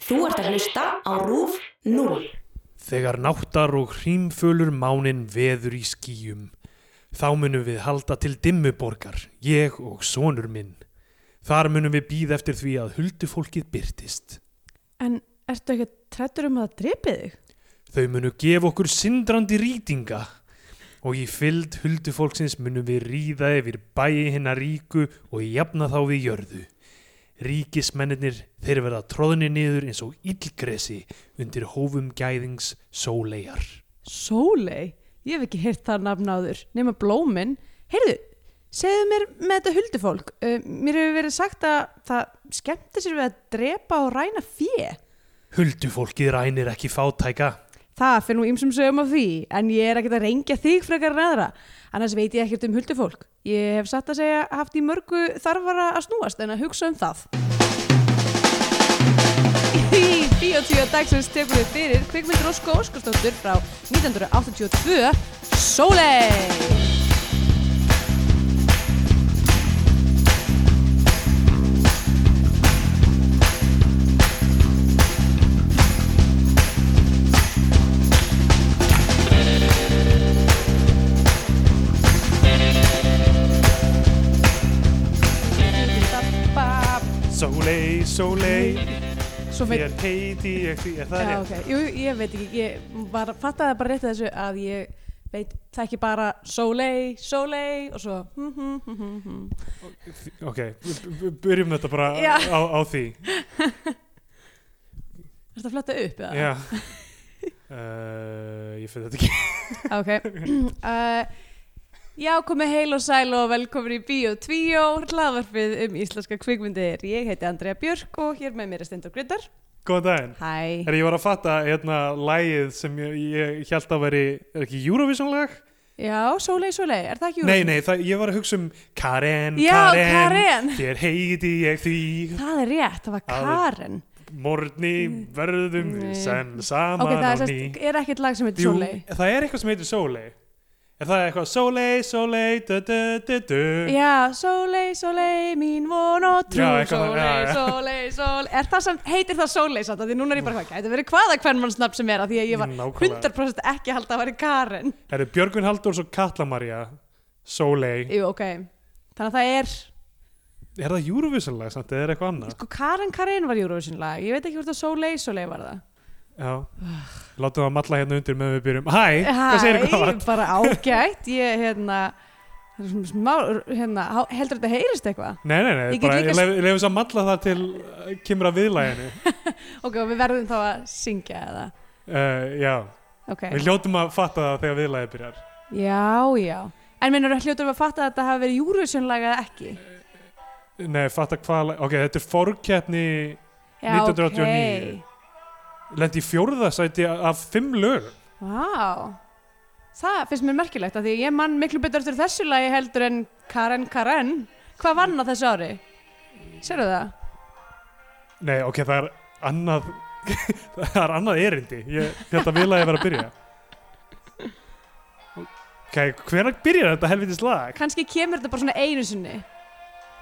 Þú ert að hlusta á RÚF 0. Þegar náttar og hrímfölur mánin veður í skýjum, þá munum við halda til dimmuborgar, ég og sonur minn. Þar munum við býða eftir því að huldufólkið byrtist. En ertu ekki trættur um að það drepi þig? Þau munu gefa okkur sindrandi rýtinga og í fylld huldufólksins munum við ríða yfir bæi hinna ríku og jafna þá við jörðu. Ríkismennir þeir verða tróðni niður eins og illgresi undir hófum gæðings sólegar. Sólei? Ég hef ekki heyrt það nafn áður, nema blómin. Heyrðu, segðu mér með þetta huldufólk. Uh, mér hefur verið sagt að það skemmti sér við að drepa og ræna fjö. Huldufólkið rænir ekki fátæka. Það fyrir nú ýmsum sögum af því, en ég er ekkert að rengja þig frekar en aðra. Annars veit ég ekkert um huldufólk. Ég hef satt að segja haft í mörgu þarfara að snúast en að hugsa um það. Í Bíotíu dagsins tekum við fyrir kvikmyndur Ósko Óskarsdóttur frá 1982 Sólei! Sólei, sólei, Svo veit þér heiti ég því, er það Já, rétt? ok, Jú, ég veit ekki, ég var, fattaði bara rétt að þessu að ég veit það ekki bara Sólei, Sólei og svo hm, hm, hm, hm, hm. Ok, b- b- byrjum þetta bara Já. á, á því. Er þetta að fletta upp eða? Já. Uh, ég fyrir þetta ekki. Ok uh, Já, komið heil og sæl og velkomin í Bíó 2 hlaðvarpið um íslenska kvikmyndir Ég heiti Andrea Björk og hér með mér er Stendur Gryndar Góðan daginn. Hæ Er ég var að fatta hérna lægið sem ég, ég held að veri, er ekki Eurovision lag? Já, Sólei, Sólei, er það ekki Nei, Eurovision? nei, það, ég var að hugsa um Karen, Já, Karen, Karen. Þér heiti ég því, Það er rétt, það var Það er- Karen morgni verðum við Nei. senn Mm. Ok, saman það er, á ný. sest, er ekkert lag sem heitir Jú, Sólei það er eitthvað sem heitir Sólei. Er það eitthvað Sólei, Sólei, du, du, du, du. Já, Sólei, Sólei, mín von og trú Já, eitthvað þannig, já, Sólei, já. Sólei, Sólei Er það sem heitir það Sólei samt? af Því núna er ég bara hvað, þetta verið hvaða hvern mann snabb sem er af Því að ég var Nákvæmlega. 100% ekki að halda að vera Karen Það eru Björgvin Halldórs og Katla Maria, Sólei. Jú, ok Þannig að það er, Er það Eurovision lag samt eða er eitthvað annað? sko Karen Karen var Eurovision lag Ég veit ekki hvort það Sólei, Sólei var það Já, látum það matla hérna undir meðan við byrjum Hæ, hvað segir Ah. Hæ, hvað? bara ágætt Ég, hérna, það er svona smá, hérna há- heldur þetta heyrist eitthvað Nei, nei, nei, Ég get bara líka ég s- lef, ég lef þess að matla það til uh, kemur að viðlæginu uh, Ok, og við verðum þá að syngja eða Eh, Já, Ok, við hljótum að fatta það þegar viðlægi byrjar já, já En minnur að hljótur að fatta að þetta hafi verið Eurovision lag eða ekki? Nei, fatta hvað, lag- ok, þetta er fórkeppni Já, 1989. ok. lendi í fjórðasæti af fimm lög Vá. Það finnst mér merkilegt af því ég mann miklu betur eftir þessu lagi heldur en Karen Karen. Hvað vann á þessu ári? Sérðu það? Nei, ok, það er annað það er annað erindi ég held að viðlægi vera að byrja Ok, hvenær byrjar þetta helvitis lag? Kanski kemur þetta bara svona einu sinni.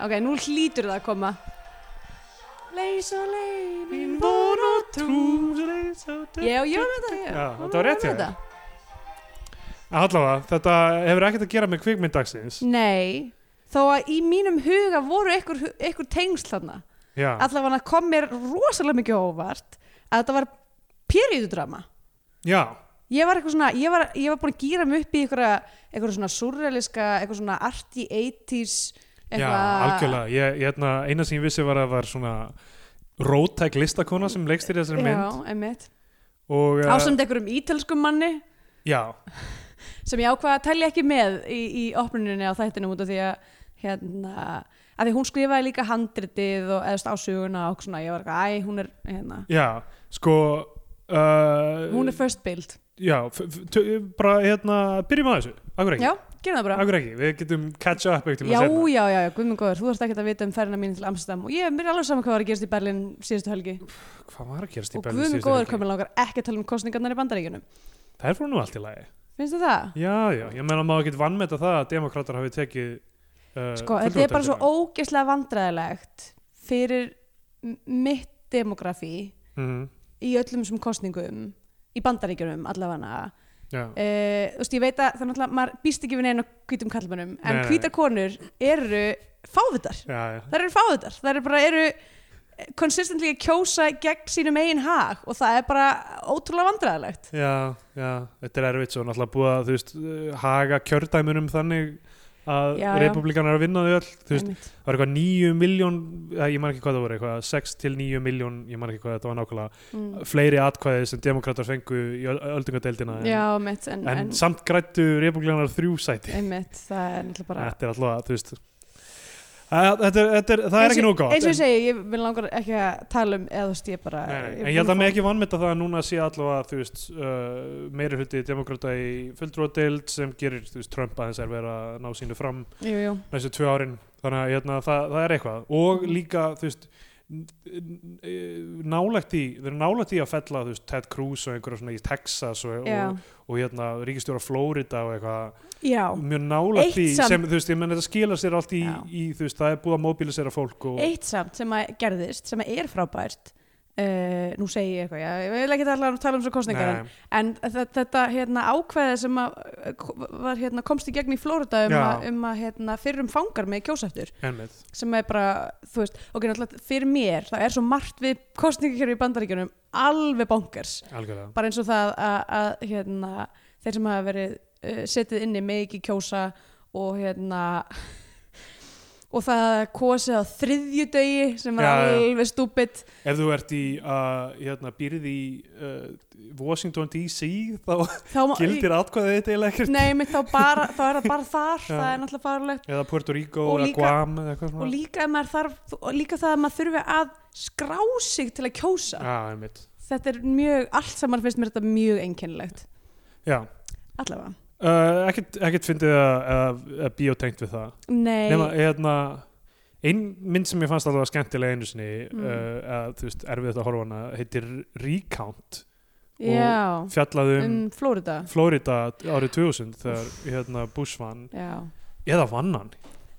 Ok, nú hlýtur það að koma. Leys og lei, mín von og trú. Já, ég var með þetta. ég- Já, ég þetta var rétt hjá þér. með þetta. Allavega, þetta hefur ekkert að gera með kvikmyndagsins Nei, þó að í mínum huga voru ykkur, ykkur tengsl þarna. Já, Allavega kom mér rosalega mikið á óvart að þetta var periodudrama. já, Ég var eitthvað svona, ég var, ég var búin að gýra mig upp í einhverja, einhverja svona surrealiska, eitthvað svona arty 80s já algjörlega ég, ég, hérna, Eina sem ég vissi var að það var svona róttæk listakona sem leikst í þessari mynd Já, einmitt. og, eh, Ásamt einhverjum ítölskum manni Já, sem ég ákvaða að telja ekki með í, í opnuninni á þættinu út af því að hérna, að því hún skrifaði líka handritið og eðast ásuguna og svona, ég var eitthvað, æ, hún er hérna, já, sko uh, hún er first build. Já, f- f- tö- bara hérna, byrjum að þessu Akkur ekki, Já, gerum það bara. akkur ekki, við getum catch up ekkert Já, já, já, já, guðminn góður, þú þarft ekki að vita um ferðina mín til Amsterdam og ég mér er alveg saman hvað var að gerast í Berlin síðustu helgi Hvað var að gerast í og Berlín guðminn síðustu góður helgi? komið langar ekki að tala um kostningarnar í bandaríkjunum. Það er fór nú allt í lagi Finnst þið það? Já, já, ég meina maður ekkert vannmeta það að demokrátar hafi tekið uh, Sko, þetta er bara svo ógeðslega vandræðilegt fyrir m- mitt demografi mm, í öllum þessum kostningum í bandaríkjunum allavega já, Eh, Þú veist, ég veit að það er náttúrulega maður býst ekki við neina hvítum kallmönnum en Nei, nei. hvítar konur eru fávitar já, já. þær eru fávitar, þær eru bara eru konsistently að kjósa gegn sínum eigin hag og það er bara ótrúlega vandræðilegt Já, já, þetta er erfitt svo náttúrulega búið að, þú veist, eh, haga kjördæmunum þannig að Já, já. republikanar er að vinna þau öll, þú veist, Einmitt. það var eitthvað 9 miljón, eh, ég man ekki hvað það voru, eitthvað 6 til 9 miljón, ég man ekki hvað þetta var nákvæmlega, mm. fleiri atkvæði sem demokrátar fengu í öl- öldungadeildina, en, Já, mitt en, en, en, samt grættu republikanar þrjú sæti, einmitt, það er náttúrulega bara þetta er alltaf, þú veist, að, þetta er, þetta er, það er Eins og- ekki nóg gátt, eins og ég segi, ég vil langar ekki að tala um eða þú veist ég bara Nei, nei, er en ég held búin að mig fá- ekki vannmynda það að núna sé allavega þú veist, uh, meiri hluti demokrata í fulltrúadeild sem gerir þú veist, Trump aðeins er verið að ná sínu fram jú, jú. næstu tvö árin þannig að hérna, það, það er eitthvað og líka þú veist e, nálægt í, þeir eru nálægt í að fella þú veist, Ted Cruz og einhverja svona í Texas og, Já. og, og hérna, ríkistjóra Flórida og eitthvað, Já. mjög nálægt Eitt í samt- sem, þú veist, ég menn þetta skilar sér allt í, Já. í þú veist, það er búið að mobilisera fólk og, eitt samt sem að gerðist sem að er frábært uh, nú segi ég eitthvað, já, ég vil ekki tala, tala um svo kostningar en, Nei, en þe- þetta hérna, ákveði sem að eh, ko- var, hérna, komst í gegn í Flórida um, Já. að- um að hérna, fyrrum fangar með kjósættur einmitt. sem er bara, þú veist, ok, náttúrulega fyrir mér það er svo margt við kostningarkerfi í bandaríkjunum alveg bonkers algjörlega bara eins og það að, að hérna, þeir sem hafa verið uh, setið inni með ekki kjósa og hérna og það að kosið á þriðjudegi sem er Já, já. alveg stúpid Ef þú ert í, uh, hérna, býrð í uh, Washington DC þá þá má- gildir atkvæðið þetta eiginlega ekkert nei, mitt, þá, bara, þá er það bara þar Já. það er náttúrulega farlegt eða Puerto Rico Og eða líka- Guam eða eitthvað og svona líka, ef maður þarf, og líka það að maður þurfi að skrá sig til að kjósa Já, einmitt þetta er mjög, allt saman finnst mér þetta mjög einkennilegt Já, allavega uh, ekkert, ekkert fyndið að- að að bíótengt við það Nei, Nema, hérna, ein mynd sem ég fannst alveg skemmtilega einu sinni Mm. uh, að, þú veist, erfið að horfa á hana heitir Recount já, fjallaði um, um Flórida Florida árið 2000 þegar hérna, Bush vann Já eða vann hann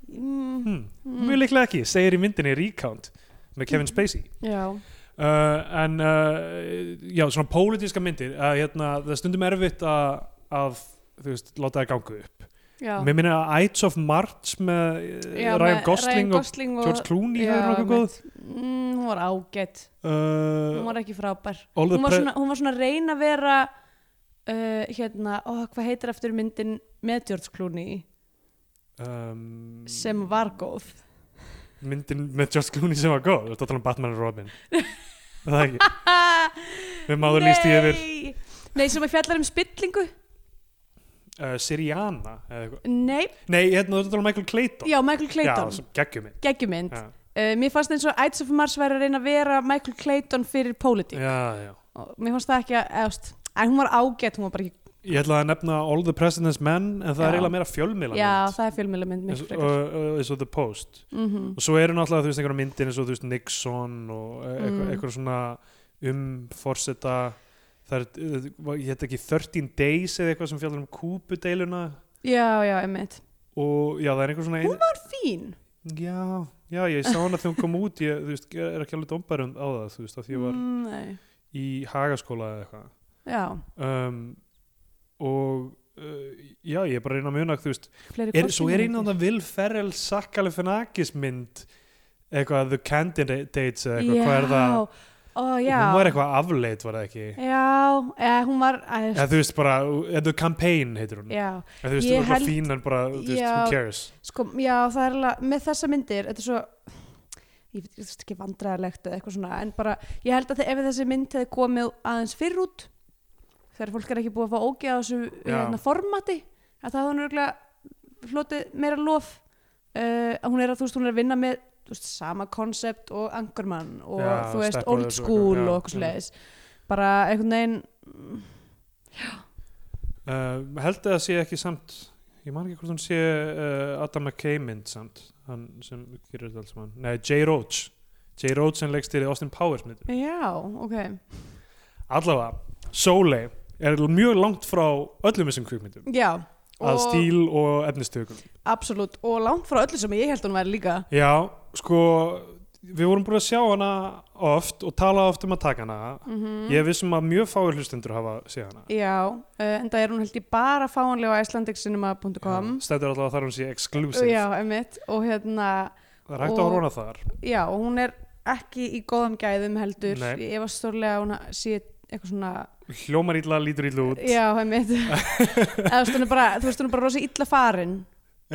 mm, hmm. Mm. mjög líklega ekki, segir í myndinni Recount með Kevin Spacey Já, uh, en uh, já, svona pólitíska myndir að hérna, það er stundum erfitt að, að þú veist, láta það gangu upp já mér minna að Ides of March með já, Já, Ryan með Gosling og Gosling George Clooney Já, já, nokkuð góð einmitt. mm, hún var ágætt, hún uh, var ekki frábær all the hún var, pre- svona, hún var svona að reyna að vera uh, hérna, ó, hvað heitir aftur myndin með George Clooney um, sem var góð myndin með George Clooney sem var góð þú veist að tala um Batman og Robin Er það ekki, við máður líst í yfir Nei! Nei, sem að fjallar um spillingu uh, Siriana eða eitthvað Nei, Nei, hérna, þú ert að tala um Michael Clayton já, Michael Clayton Já, geggjum minn geggjumynd Já, uh, Mér fannst eins og Ides of Mars væri að reyna að vera Michael Clayton fyrir pólitík já, já og mér fannst það ekki að, eðast, en hún var ágætt, hún var bara ekki Ég ætla að nefna All the President's Men en það er Já. eiginlega meira fjölmiðla Já, það er fjölmjölamynd miklu mynd frekar eins og The Post mm og svo eru náttúrulega þú veist einhverja myndir eins og þú veist Nixon og e- eitthvað, Mm. eitthvað svona um forseta það er, eh, ég heit ekki 13 Days eða eitthvað sem fjallar um kúpudeiluna Já, já, emmitt og já það er einhver svona ein... Fín já, já, ég sá hana þegar hún kom út ég þú veist, er ekki alveg dómbærum á það þú veist, að því ég var Mm, Nei, í hagaskóla eða eitthvað já, um, og uh, já, ég er bara að reyna að muna þú veist, fleiri er, svo er kosningamyndir. einan það Will Ferrell Sakkalefanakis mynd eitthvað The Candidates eða eitthvað, hvað er það Ó, já hún var eitthvað afleit var það ekki Já, eða, hún var eða þú veist bara, eða The Campaign heitir hún Já, eða þú veist, ég hún er bara held- fín en bara, þú veist, Já. who cares sko, já, það er alveg Með þessa myndir, þetta er svo Ég veit ég veist ekki vandræðilegt eða eitthvað svona En bara, ég held að þe- ef þessi mynd hefði komið aðeins fyrr út Þegar fólk er ekki búið að fá ógeð á þessu Já. hérna, formati Að það hún örgulega Flotið meira lof uh, Að hún er að, þú veist, hún er að vinna með þú veist, sama konsept og Angerman og Já, þú veist Step Old Brothers og School eitthvað, já, og eitthvað já. svoleiðis bara einhvern veginn mm, uh, held að það sé ekki samt ég man ekki hvort hún sé uh, Adam McKay mynd samt hann sem gerir þetta alls mann, nei, J. Roach J. Roach sem leggst til Austin Powers mynd já, ok allavega, Soleil er mjög langt frá öllum þessum kvikmyndum já, að og stíl og efnistökum absolutt, og langt frá öllu sem ég held hún væri líka Já, sko við vorum búin að sjá hana oft og talað oft um að taka hana Mm. ég er vissum að mjög fáir hlustendur hafa séð hana Já, uh, en það er hún held ég bara fáanlega á icelandiccinema.com stendur alltaf að þar hún sé exclusive Já, emitt, og hérna það er hægt að og- horfa á hana þar já, og hún er ekki í góðum gæðum heldur Nei. ég var stórlega að hún sé eitthvað svona hljómar illa, lítur illa út já, einmitt Eða, þú veist, hún er bara, þú veist, hún er bara rosa illa farin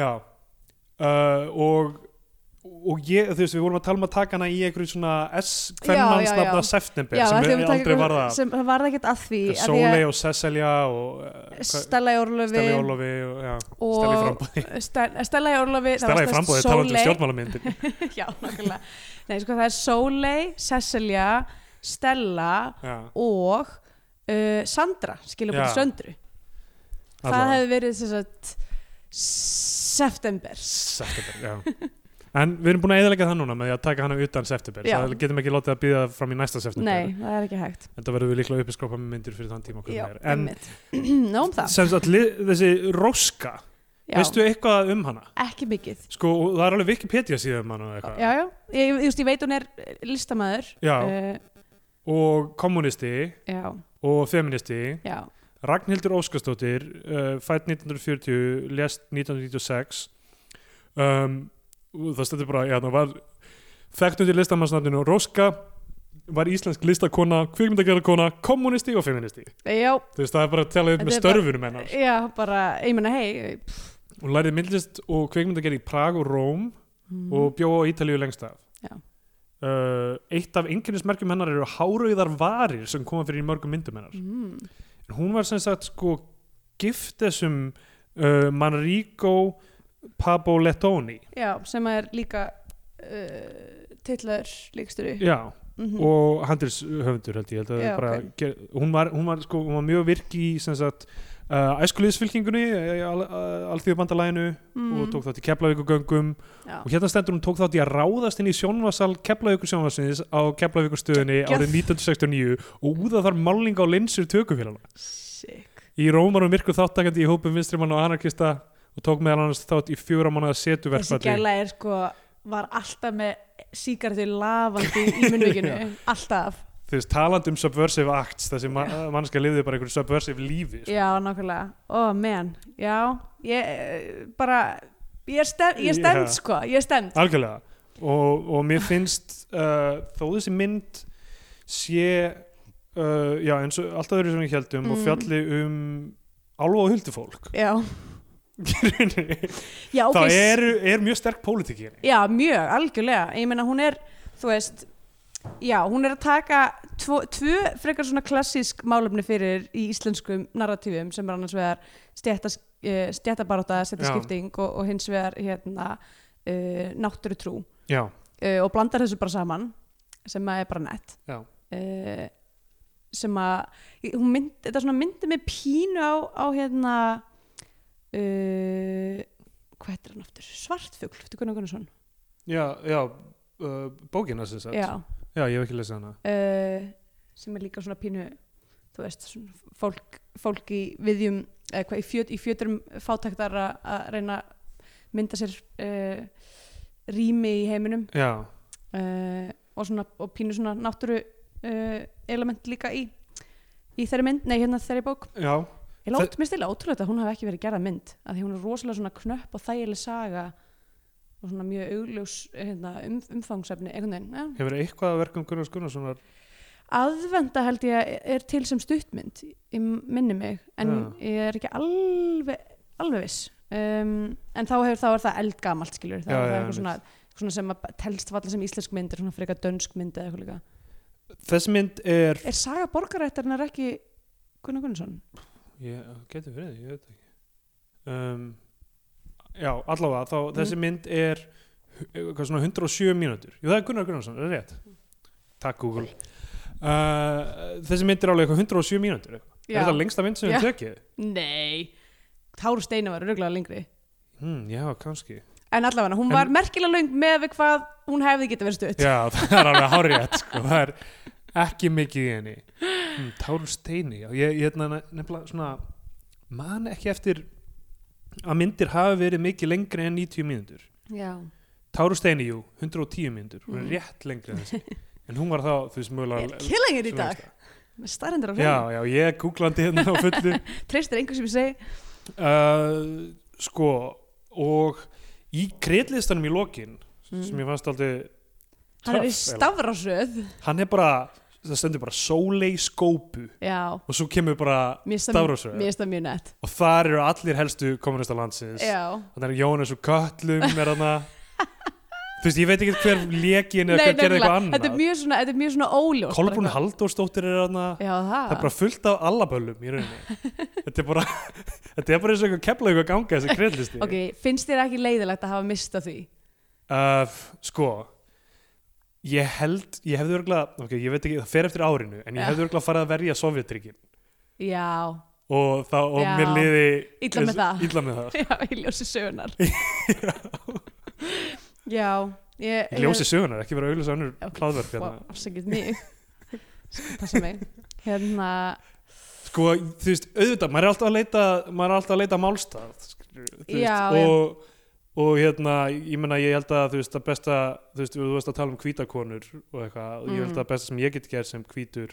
Já uh, og og ég, þú veist, við vorum að tala um að taka hana í einhverju svona S Já, já, já. kvennmannsnafna september já, sem af því að við hún aldrei tekur- var það sem það varð ekkert að því af því Sólei og Cecilia og uh, að Stella í Orlofi Stella Ólofi og já, Og- Stella í frambóði Ste- Stella í Orlofi það var Stella í sem sagt frambóði, talandi um Sóley- stjórnmálamyndir já, nákvæmlega Nei, sko, það er Sólei, Cecilia Stella Já, og uh, Sandra skilur bara Já. söndru það allavega. hefði verið sem sagt september September, já En við erum búin að eðalega það núna með því að taka hana utan september Já. það getum ekki látið að býða fram í næsta september Nei, það er ekki hægt en það verðum við líklega uppiskrópa með myndir fyrir þann tíma og hvernig Já, það er. einmitt. Nó um en það sem sagt, lið- þessi róska já, veistu eitthvað um hana? Ekki mikið Sko, og það er alveg Wikipedia síðan mann og eitthvað. Já, já, ég, ég, just, ég veit hún er eh, listamaður Já, Eh, og kommunisti já, og feministi. já, Ragnhildur Óskarsdóttir, uh, fætt 1940, lest 1996. Um, og það stendur bara, já, það var þekkt undir listamannsnafninu Róska, var íslensk listakona, kvikmyndagerðarkona, kommunisti og feministi. já, Þú veist, það er bara að tala upp Þetta með er bara- störfunum hennar. já bara, ég meina, hei Hún lærið myndlist og kvikmyndagerð í Prag og Róm og bjó á Ítalíu lengst af Mm. Já. Uh, eitt af einkennismerkjum hennar eru hárauðar varir sem koma fyrir í mörgum myndum hennar mm, en hún var sem sagt sko gift þessum uh, Manrico Pabo Lettoni Já, sem er líka uh, titlar líksturu já, mm og handils höfundur held ég, held að Já, bara, ok. ger, hún, var, hún var sko hún var mjög virk í sem sagt uh, æskuliðsfylkingunni alþjóðbandalæginu mm. og tók þátt í Keflavíkugöngum já. og hérna stendur hún tók þátt í að ráðast inn í sjónvarsal Keflavíkur sjónvarsins á Keflavíkur stöðinni Geggjað. árið 1969 og úða þar málning á linsur tökufélana. Sick Í Róm var hún virkur þáttakandi í hópum vinstrimann og anarkista og tók meðal annars þátt í fjóra mánuða Þessi setuverkfalli. gæla er sko var alltaf með síkartu lafandi í munnvíkinu Alltaf Þú veist, talandi um subversive acts, þessi ma mannska lifði bara einhverju subversive lífi. Sko. Já, nákvæmlega. Ó, oh, menn. Já, ég eh, bara, ég er stend, ég er stend Já. sko, ég er stend. Algjörlega. Og, og mér finnst uh, þó þessi mynd sé uh, já, eins og alltaf þeirri sem ég heldum og Mm. fjalli um álfa og huldufólk. Já, Í rauninni. já, ok. það s- er, er mjög sterk pólitík í henni Já, mjög, algjörlega. Ég meina, hún er, þú veist, já, hún er að taka tvo, tvö frekar svona klassísk málefni fyrir í íslenskum narratífum sem er annars vegar stjættas, uh, stjættabaráta, stjættaskipting og, og hins vegar, hérna, uh, náttúrutrú. já, uh, og blandar þessu bara saman sem að er bara nett Já. uh, sem að hún mynd, þetta svona myndi mig pínu á, á hérna uh, hvað heitir hann aftur? Svartfugl, eftir Gunnar Gunnarsson já, já uh, bókina sem sagt já, já, ég hef ekki lesið hana uh, sem er líka svona pínu þú veist, svona fólk, fólk í viðjum, eða hvað, í, fjöt, í fjöturum fátæktar að- að reyna að mynda sér uh, rými í heiminum já, uh, og, svona, og pínu svona náttúru uh, element líka í í þeirri mynd, nei hérna þeirri bók já, ég lát, minnst eiginlega ótrúlega að hún hafi ekki verið gerða mynd að því hún er rosalega svona knöpp og þægileg saga og svona mjög augljós hérna, um, umfangsefni einhvern veginn, ja. hefur eitthvað að verkum Gunnars Gunnarssonar aðvenda held ég að er til sem stuttmynd ég minni mig, en ég er ekki alveg, alveg viss um, en þá hefur þá er það eldgamalt skilur, það, Já, já, það er eitthvað einmitt. svona, svona sem að telst falla sem íslensk mynd er svona frekar dönsk mynd eða eitthvað líka þessi mynd er Er saga borgarættarinnar ekki Gunnar Gunnarsson? ég, getur verið, ég veit ekki um, já, allavega þá, Mhm. þessi mynd er hu- eitthvað svona 107 mínútur jú, það er Gunnar Gunnarsson, það er rétt takk Google uh, þessi mynd er alveg eitthvað 107 mínútur er þetta lengsta mynd sem Já. við tekið? Nei, Táru Steina var röglega lengri. Hmm, já, kannski En allavega, hún En- var merkilega löng með við hvað hún hefði getið verið stutt. Já, það er alveg hárétt sko. það er ekki mikið í henni mm, Tárur Steini já. ég, ég hérna, ne- nefnilega svona man ekki eftir að myndir hafa verið mikið lengri en 90 mínútur Já. Tárur Steini, jú, 110 mínútur hún er Mm. rétt lengri en þessi En hún var þá, þú veist, Ég er mögulega... killing it í dag. sögulegust. Starrendur á Já, hreinu. já, ég googlandi hérna á fullu. Treystir einhver sem ég segi. uh, sko, og í kreitlistanum í lokin, sem Mm. ég fannst aldrei... Hann er í töff, stafrasöð. Hann er bara, það stendur bara Sólei Skópu Já. og svo kemur bara Mér finnst það- Stafrósöð Mér finnst það mjög nett. og þar eru allir helstu kommunista landsins. Já. Þannig er Jónas og Köllum er hann Þú veist, ég veit ekki hver lekin eða Nei, hver gerði eitthvað nefnilega. annað. Þetta er mjög svona, þetta er mjög svona óljós. Kolbrún Halldórsdóttir er hann Já, það. Það er bara fullt af allaböllum í rauninni. þetta er bara, þetta er bara eins og eitthvað kepla eitthvað ganga þessi kreðlisti. Ok, finnst þér ekki leiðilegt að hafa mistað því? Uh, sko, ég held, ég hefði örgulega, ok, ég veit ekki, það fer eftir árinu, en ég Já. hefði örgulega farið að verja Sovjetryggjum Já. og, þá, og Já. mér liði Illa með það. illa með það. Já, í ljósi sögunar. Já. Ég, Ég ljósi sögunar, ekki verið að auðvitað önnur Já, hlaðverk Vá, hérna. afsakið mig. Skal passa mig. Hérna, Sko, þú veist, auðvitað, maður er alltaf að leita, maður er alltaf að leita málstað, skilur, þú veist, Já, já. og, og hérna, ég meina, ég held að, þú veist, að besta, þú veist, þú veist að tala um hvítakonur og eitthvað, og ég held Mm. að besta sem ég get gert sem hvítur,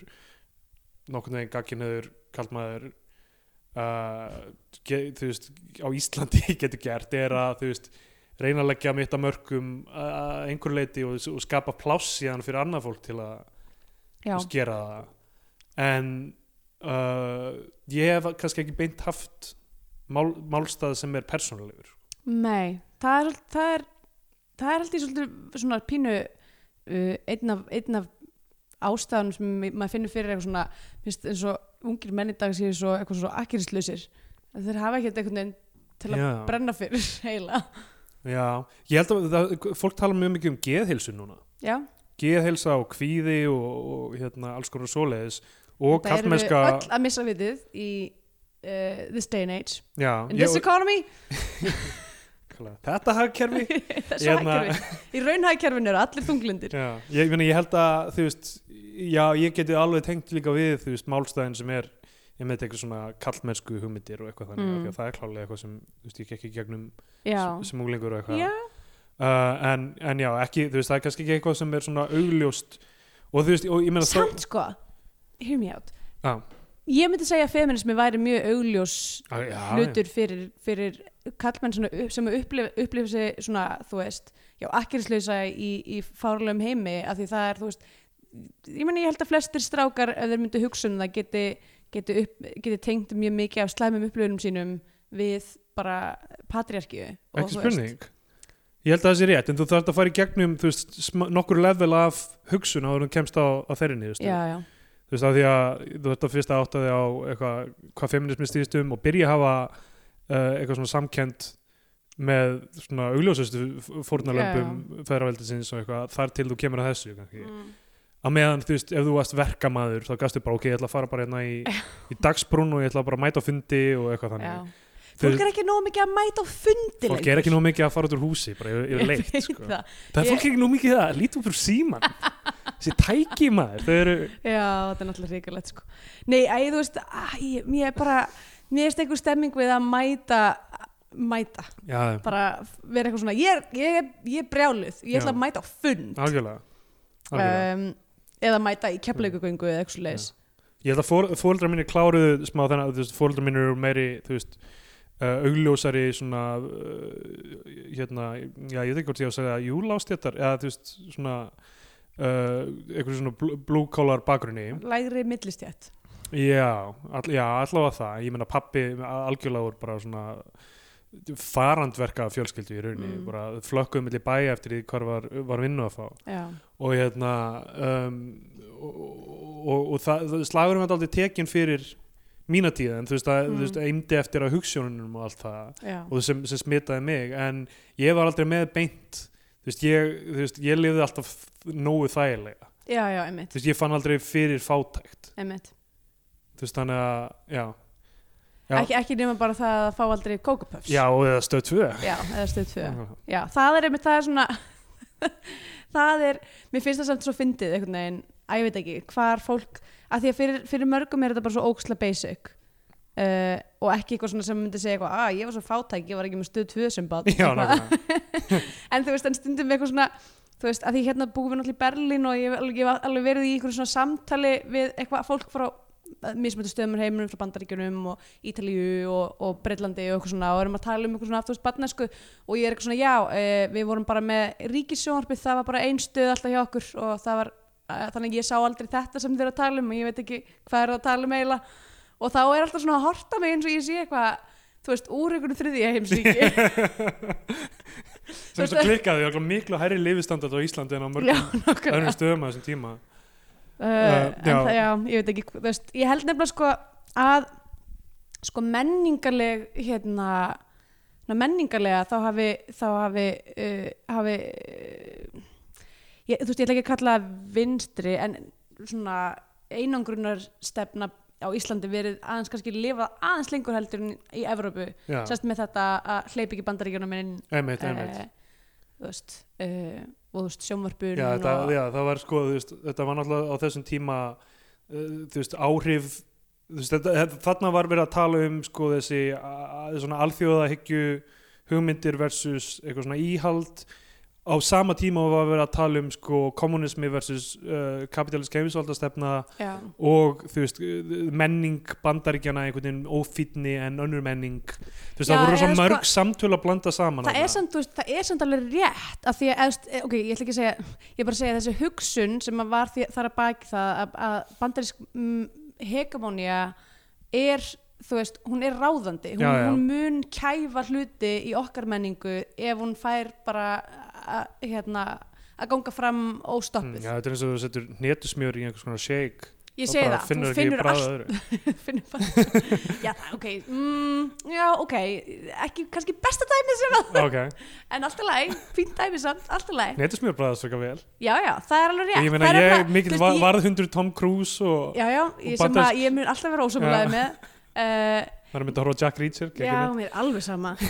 nokkurn veginn gagginöður, kallmaður, uh, ge, þú veist, á Íslandi getur gert, er að, þú veist, reyna að leggja mitt að mörgum að einhverju leiti og, og skapa pláss síðan fyrir annað fólk til að já. veist, gera það en uh, ég hef kannski ekki beint haft mál, málstað sem er persónulegur Nei, það er, það er, það er alltaf svolítið svona pínu uh, einn, af, einn af ástæðanum sem ma- maður finnur fyrir eitthvað svona, finnst eins og ungir menn í dag séu svo eitthvað svo akkirislausir þeir hafa ekkert einhvern veginn til að já, brenna fyrir heila já, ég held að það, fólk tala mjög mikið um geðhilsu núna Já, geðhilsa og kvíði og, og hérna, alls konar svoleiðis og það eru við kallmennska öll að missa vitið í uh, this day and age já, in ég- this economy, kalla- þetta hagkerfi þessu Hérna- hækkerfi í raunhækkerfinu eru allir þunglindir já, ég, ég, meina, ég held að þú veist, já, ég geti alveg tengt líka við þú veist, málstæðin sem er ég með eitthvað svona kallmennsku hugmyndir og eitthvað þannig, Mm. mm. það er klálega eitthvað sem þú veist, ég gekk í gegnum Já, sem- sem úlingur og eitthvað já, uh, en, en já, ekki, þú veist, það er kannski ekki eitthvað sem er svona augljóst og þú veist, og ég meina þá- samt sko hear me out Já. ég myndi segja að feminismi væri mjög augljós Á, já, hlutur fyrir, fyrir kallmenn svona, upp- sem upplifa, upplifa sig svona, þú veist, já, akkirislausa í, í fárlegum heimi af því það er, þú veist, ég meni ég held að flestir strákar ef þeir myndu hugsa um það geti, geti, upp, geti tengt mjög mikið af slæmum upplifunum sínum við bara patriarkíu og ekki þú veist- spurning ég held að það sé rétt, en þú þarft að fara í gegnum þú veist, sm- nokkur level af hugsun áður en þú kemst á, á þeirri niðurstöðu Já, já, þú veist, af því að þú þarft að fyrst að átta þig á eitthvað, hvað feminismi stýrist um og byrja að hafa uh, eitthvað svona samkend með svona augljósustu fórnarlömpum feðraveldisins og eitthvað, þar til þú kemur að þessu kannski Mm. að meðan þú veist, ef þú varst verkamaður þá gafstu bara, ok, ég ætla að fara bara hérna í, í dagsbrún og ég ætla bara að mæta á fundi og eitthvað já þannig Þú Fólk veist, er ekki nóg mikið að mæta á fundi fólk er ekki nóg mikið að fara út úr húsi bara yfir, yfir leitt sko. það það er fólk er ekki nóg mikið í það, lítið upp úr síman þessi tæki maður þau eru, Já, þetta er náttúrulega ríkulegt sko. Nei, æ, þú veist, æ, ég- mér er bara, mér erst einhver stemming við að mæta, mæta, já, bara vera eitthvað svona, ég er, ég er, ég er brjáluð, ég ætla Já. að mæta á fund. algjörlega, algjörlega. Mm. Um, eða mæta í keflaugugöngu eða eitthvað leis. ég held að fór, fóreldrar mínir kláruðu smá þannig að þú veist, fóreldrar mínir eru meiri þú veist, uh, augljósari svona uh, hérna, já, ég veit ekki hvort ég á að segja júlástéttar, eða þú veist svona uh, einhverju svona bl- blue collar bakgrunni Lægri millistjætt. já, all, já, allavega það ég meina pappi algjörlega voru bara svona farandverka fjölskyldu í rauninni, Mm. bara flökkuðu milli bæja eftir því hvar var, var vinnu að fá Já. og hérna um, og, og, og, og það, það- slagurinn var aldrei tekin fyrir mína tíð en þú veist að Mm. mm. eimdi eftir að hugssjónunum og allt það Já. og sem, sem smitaði mig en ég var aldrei með beint þú veist ég, þú veist, ég lifði alltaf nógu þægilega já, já, einmitt, þú veist ég fann aldrei fyrir fátækt einmitt. þú veist þannig að já, Já. Ekki, ekki nema bara það að fá aldrei kókupöfs. já og eða stöð 2 Já, eða stöð tvö. Já, það er einmitt, það er svona það er, mér finnst það samt svo fyndið einhvern veginn, að ég veit ekki, hvar fólk að því að fyrir, fyrir mörgum er þetta bara svo óksla basic uh, og ekki eitthvað svona sem myndi segja eitthvað, að ég var svo fátæk ég var ekki með stöð tvö sem bad já, nákvæmlega. en þú veist, en stundum við eitthvað svona þú veist, að því hérna búum við náttúrulega í Berlín og ég hef alveg, ég hef alveg verið í einhverjum svona samtali við eitthvað fólk frá mismöndu stöðum úr heiminum frá Bandaríkjunum og Ítalíu og, og Breitlandi og eitthvað svona og erum að tala um eitthvað svona aftur barnesku og ég er eitthvað svona já, e, við vorum bara með ríkissjónarpið, það var bara ein stöð alltaf hjá okkur og það var eh, þannig að ég sá aldrei þetta sem þið eru að tala um og ég veit ekki hvað er að tala um eiginlega og þá er alltaf svona að horta mig eins og ég sé eitthvað þú veist, úr einhvern þriðja heimsríki sem þess að klikkaði og miklu hærri lifistandard á Íslandi en á já, mörgum nákvæmlega öðrum stöðum á þessum tíma uh, Uh, já. já. Það, já, ég veit ekki þú veist, ég held nefnilega sko að sko menningarleg hérna svona menningarlega þá hafi þá hafi, uh, hafi uh, ég, þú veist ég ætla ekki að kalla það vinstri en svona einangrunarstefna á Íslandi verið aðeins kannski lifað aðeins lengur heldur en í Evrópu já, sérst með þetta að hleyp ekki bandaríkjunum inn einmitt, einmitt eh, þú veist uh, og þú veist sjónvarpun já, þetta, og, já, það var sko, þú veist, þetta var náttúrulega á þessum tíma uh, þú veist, áhrif þú veist, þetta, þetta- þarna var verið að tala um sko þessi a- a- svona alþjóðahyggju hugmyndir versus eitthvað svona íhald á sama tíma var verið að tala um sko kommunismi versus uh, kapitalist keimisvaldastefna já, og þú veist menning bandaríkjana einhvern veginn ófýtni en önnur menning þú veist Já, það voru eða svo sko- mörg samtöl að blanda saman það þarna. er, samt, þú veist, það er samt alveg rétt af því að, eðst, eh, ok, ég ætla ekki að segja ég er bara að segja að þessi hugsun sem að var því, þar að baki það að, að bandarísk mm, hegemónia er, þú veist, hún er ráðandi hún, Já, já. hún mun kæfa hluti í okkar menningu ef hún fær bara að, hérna að ganga fram Mm, óstoppuð já, þetta er eins og þú setur netusmjör í einhvers konar shake ég og segi bara það, þú ekki finnur bragð allt af öðru. finnum bara já, ok, mm, já, ok ekki, kannski besta dæmið sem að ok, en alltaf læg, fín dæmið samt, alltaf læg netusmjör bræðast svaka vel já, já, það er alveg rétt ég meina Það er ég alveg- mikill þú var, veist, ég- varðhundur Tom Cruise og já, já, ég, sem bandarísk- að ég mun alltaf vera ósamlega með uh, það er að mynda að horfa á Jack Reacher já, geggjum mér er alveg sama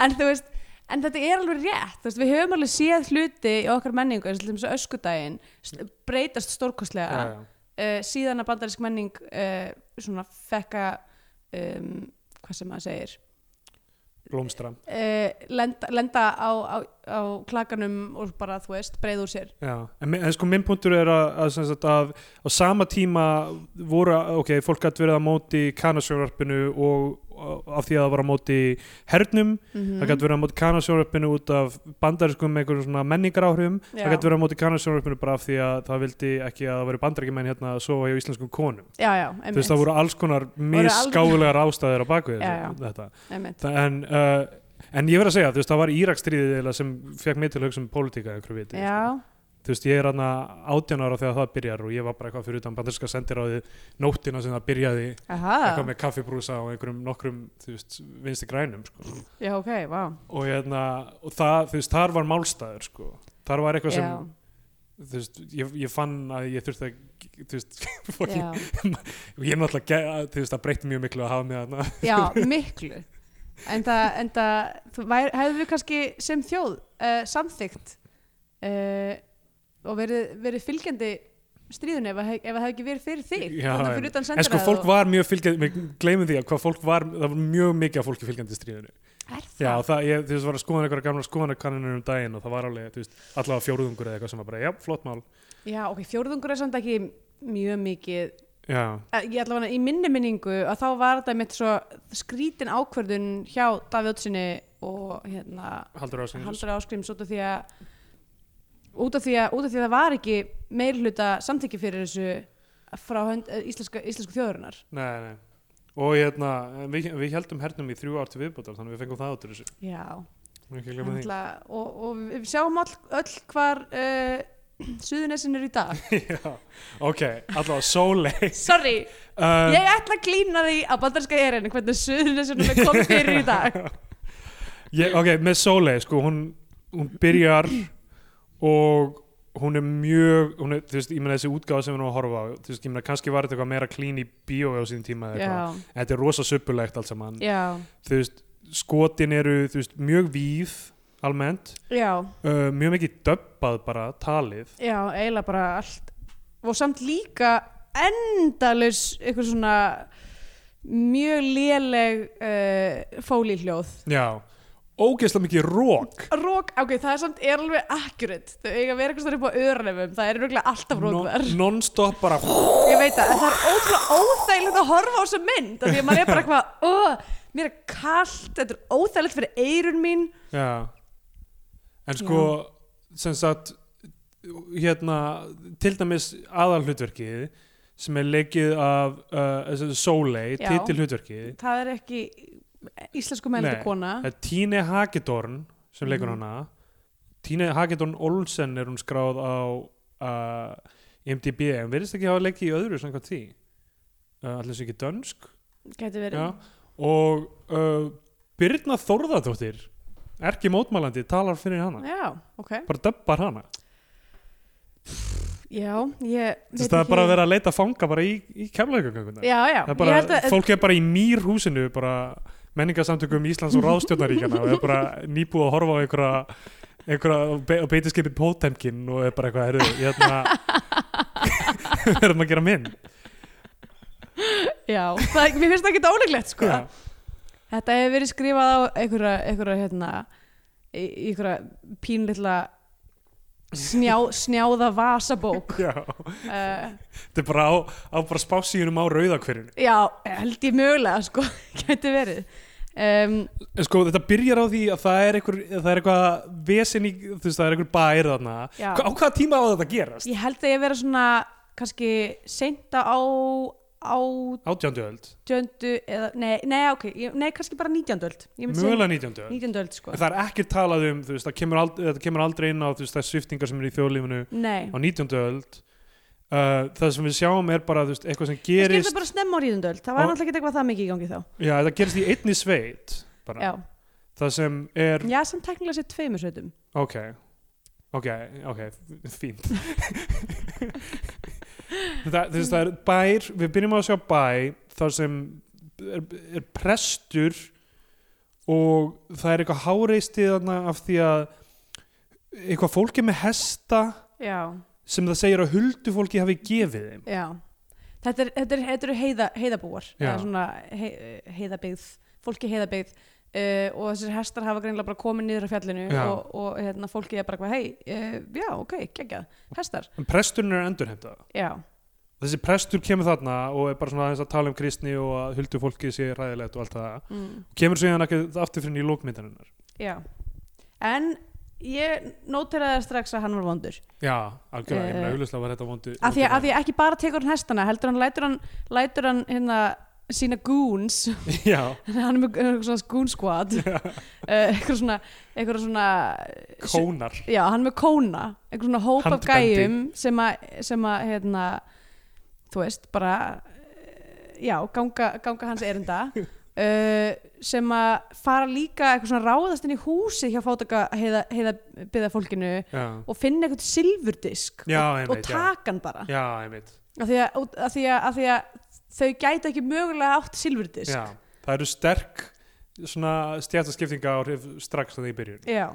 en þú veist en þetta er alveg rétt, þú veist, við höfum alveg séð hluti í okkar menningu, eins og til dæmis öskudaginn st- breytast við. stórkostlega Já, já. uh, síðan að bandarísk menning uh, svona fekka um, hvað sem maður segir blómstra uh, lenda, lenda á, á, á klakanum og bara þú veist breið úr sér Já, en, mi- en sko minn punktur er að, að, sem sagt, að á sama tíma voru, ok, fólk gætt verið á móti kanasjónvarpinu og og af því að það var á móti hernum það Mhm. gætt verið á móti kanasjónvarpinu út af bandariskum einhverjum svona menningaráhrifum Já. það gætt verið á móti kanasjónvarpinu bara af því að það vildi ekki að það veri bandarækjumenn hérna að sofa hjá íslenskum konum já, já, þú veist það voru alls konar misgáðulegar ástæðir á baku Já, já. þetta einmitt. Þa- en, uh, en ég verið að segja, þú veist það var Írakstríðið eiginlega sem fekk mig til að hugsa um pólitíka einhverju viti sko já, þú veist, ég er hann átján ára þegar það byrjar og ég var bara eitthvað fyrir utan banderska sendiráði nóttina sem það byrjaði aha eitthvað með kaffibrúsa og einhverjum nokkrum, þú veist, vinsti grænum sko. já, ok, vá og, hérna, og það, þú veist, þar var málstæður sko. þar var eitthvað sem já, þú veist, ég, ég fann að ég þurfti að þú veist, fólk, já, og ég er náttúrulega ge- að, þú veist, það breytti mjög miklu að hafa mig þarna já, miklu en það, en það hefðu við kannski sem þjóð uh, samþygt uh, og verið, verið fylgjandi stríðun ef það hef- ef það hefði ekki verið fyrir þig Já, þarna en- fyrir utan en sko sendiræðu fólk var mjög fylgjandi, við gleymum því að hvað fólk var, það var mjög mikið af fólki fylgjandi í stríðinu Er Já, það? það, ég, þú veist, var að skoða einhverja gamla skoðanakanninu um daginn og það var alveg, þú veist, allavega fjóruðungur eða eitthvað sem var bara, já, flott mál. Já, ok, fjórðungur er samt ekki mjög mikið Já, Eh, ég ætla hana í minni minningu að þá var þetta mitt svo skrítin ákvörðun hjá Davíð Ottsinni og hérna haldur ásins. Haldur Áskrims út af því að út af því að, út af því að það var ekki meirhluta samþykki fyrir þessu frá hönd, eh, íslenska, íslensku þjóðurinnar Nei, nei. Og hérna, en við, við heldum hernum í þrjú ár til viðbútar, þannig að við fengum það áttur þessu. Já, Ekki glemma því. ætla, og, og við sjáum all, öll hvar uh, suðunessin er í dag já, ok, allavega sóleg. Sorry, Um, ég ætla að glína því á bandarska erinu hvernig suðunessin er komið fyrir í dag ég, ok, með Sóley sko, hún, hún byrjar og hún er mjög hún er, þú veist, ég meina þessi útgáð sem við erum að horfa á þú veist, ég meina kannski var þetta eitthvað meira klín í bíó á síðan tíma eða eitthvað, Já, En þetta er rosa söpulegt allt saman, já, þú veist, skotin eru þú veist, mjög víð almennt, já uh, mjög mikið döbbað bara talið Já, eiginlega bara allt og samt líka endalaus eitthvað svona mjög léleg uh, eh, fólíhljóð Já, ógeðslega mikið rók Rók, ok, það er samt er alveg akkurat Þau eiga að vera eitthvað upp á öðrunum Það er röglega alltaf rókverð non-stop bara Ég veit það, en það er ótrúlega óþægilegt að horfa á þessu mynd af Því að maður er bara eitthvað "Ugh, Mér er kallt, þetta er óþægilegt fyrir eirun mín Já. en sko sem sagt hérna, til dæmis aðalhlutverkið sem er leikið af uh, Sólei, Já. titil hlutverkið Það er ekki íslensku mældi Nei. kona Það er Tíne Hagedorn sem leikur Mhm. hana Tíne Hagedorn Olsen er hún skráð á uh, MDB en verðist ekki hafa leikið í öðru samkvæmt því uh, allir sem ekki dönsk Gæti verið já, og uh, Birna Þórðardóttir erki mótmælandi talar fyrir hana Já, ok bara döbbar hana Já, ég Þess, veit það er ekki- bara að vera að leita fanga bara í, í kemlaugagöngunar Já, já, Það er ég bara, held að fólk er bara í mýr húsinu bara menningarsamtökum Íslands og ráðstjórnaríkjana og er bara nýbúið að horfa á einhverja einhverja be á beitiskeipi Potemkin og er bara eitthvað, herru, ég ætla að verðum að gera mynd Já, það, mér finnst það ekki óleglegt sko Já. Þetta hefur verið skrifað á einhverja, einhverja hérna, í- í einhverja pínlilla snjá, snjáða vasabók Já. uh, þetta er bara á, á bara spásíunum á rauðakverjunu Já, held ég mögulega sko, gæti verið um, en sko þetta byrjar á því að það er einhver, það er eitthvað vesen í, þú veist, það er einhver bær þarna Já. Hva- á hvaða tíma á þetta að gerast? Ég held að ég vera svona kannski seinta á átjöndu Átjánduöld, eða, nei, nei, ok, ég, nei, kannski bara nítjönduöld mögulega nítjánduöld Nítjönduöld sko En það er ekki talað um, þú veist, það kemur, ald það kemur aldrei inn á þú veist, þær sviftingar sem eru í þjóðlífinu Nei, á 19. öld uh, það sem við sjáum er bara þú veist, eitthvað sem það skipta gerist bara snemma á nítjönduöld Það var Á- náttúrulega ekki eitthvað það mikið í gangi þá já, það gerist í einni sveit bara, Já, það sem er já sem teknilega sér tveimur sveitum ok, ok, ok fínt það, þú veist, það er bær við byrjum á að sjá bæ þar sem er, er prestur og það er eitthvað háreistið þarna af því að eitthvað fólki með hesta Já, sem það segir að huldufólki hafi gefið þeim já Þetta er- þetta er- þetta eru heiða, heiðabúar Já. eða svona hei, heiðabyggð fólki í heiðabyggð uh, og þessir hestar hafa greinlega bara komið niður á fjallinu Já. og, og hérna, fólki er bara hvað, hei, uh, já, ok, geggjað hestar, en presturinn er endurheimtað já, þessi prestur kemur þarna og er bara svona aðeins að tala um kristni og að huldu fólki sé ræðilegt og allt það mm, og kemur síðan ekki aftur fyrir í lókmyndaninnar já en ég nóteraði strax að hann var vondur já, algjörlega, ég meina Eh, auðvitað var þetta vondu af því, af því ekki bara tekur hann hestana heldur hann, lætur hann, lætur hann hérna, sína goons já, hann er með eitthvað svona goon squad Eh, eitthvað svona, eitthvað svona eh, kónar Já, hann er með kóna, einhver svona hóp af Handbendi. gæjum sem að, sem að, hérna, þú veist, bara, eh, já, ganga, ganga hans erinda, uh, sem að fara líka eitthvað svona ráðast inn í húsi hjá fátaka heiða, heiða byða fólkinu já, og finna eitthvað silfurdisk Já, og, og einmitt, já. taka hann bara. já, einmitt Af því að, út- af því að, af því að þau gæti ekki mögulega átt silfurdisk. já. það eru sterk svona stjættaskiptinga áhrif strax þannig í byrjun Já.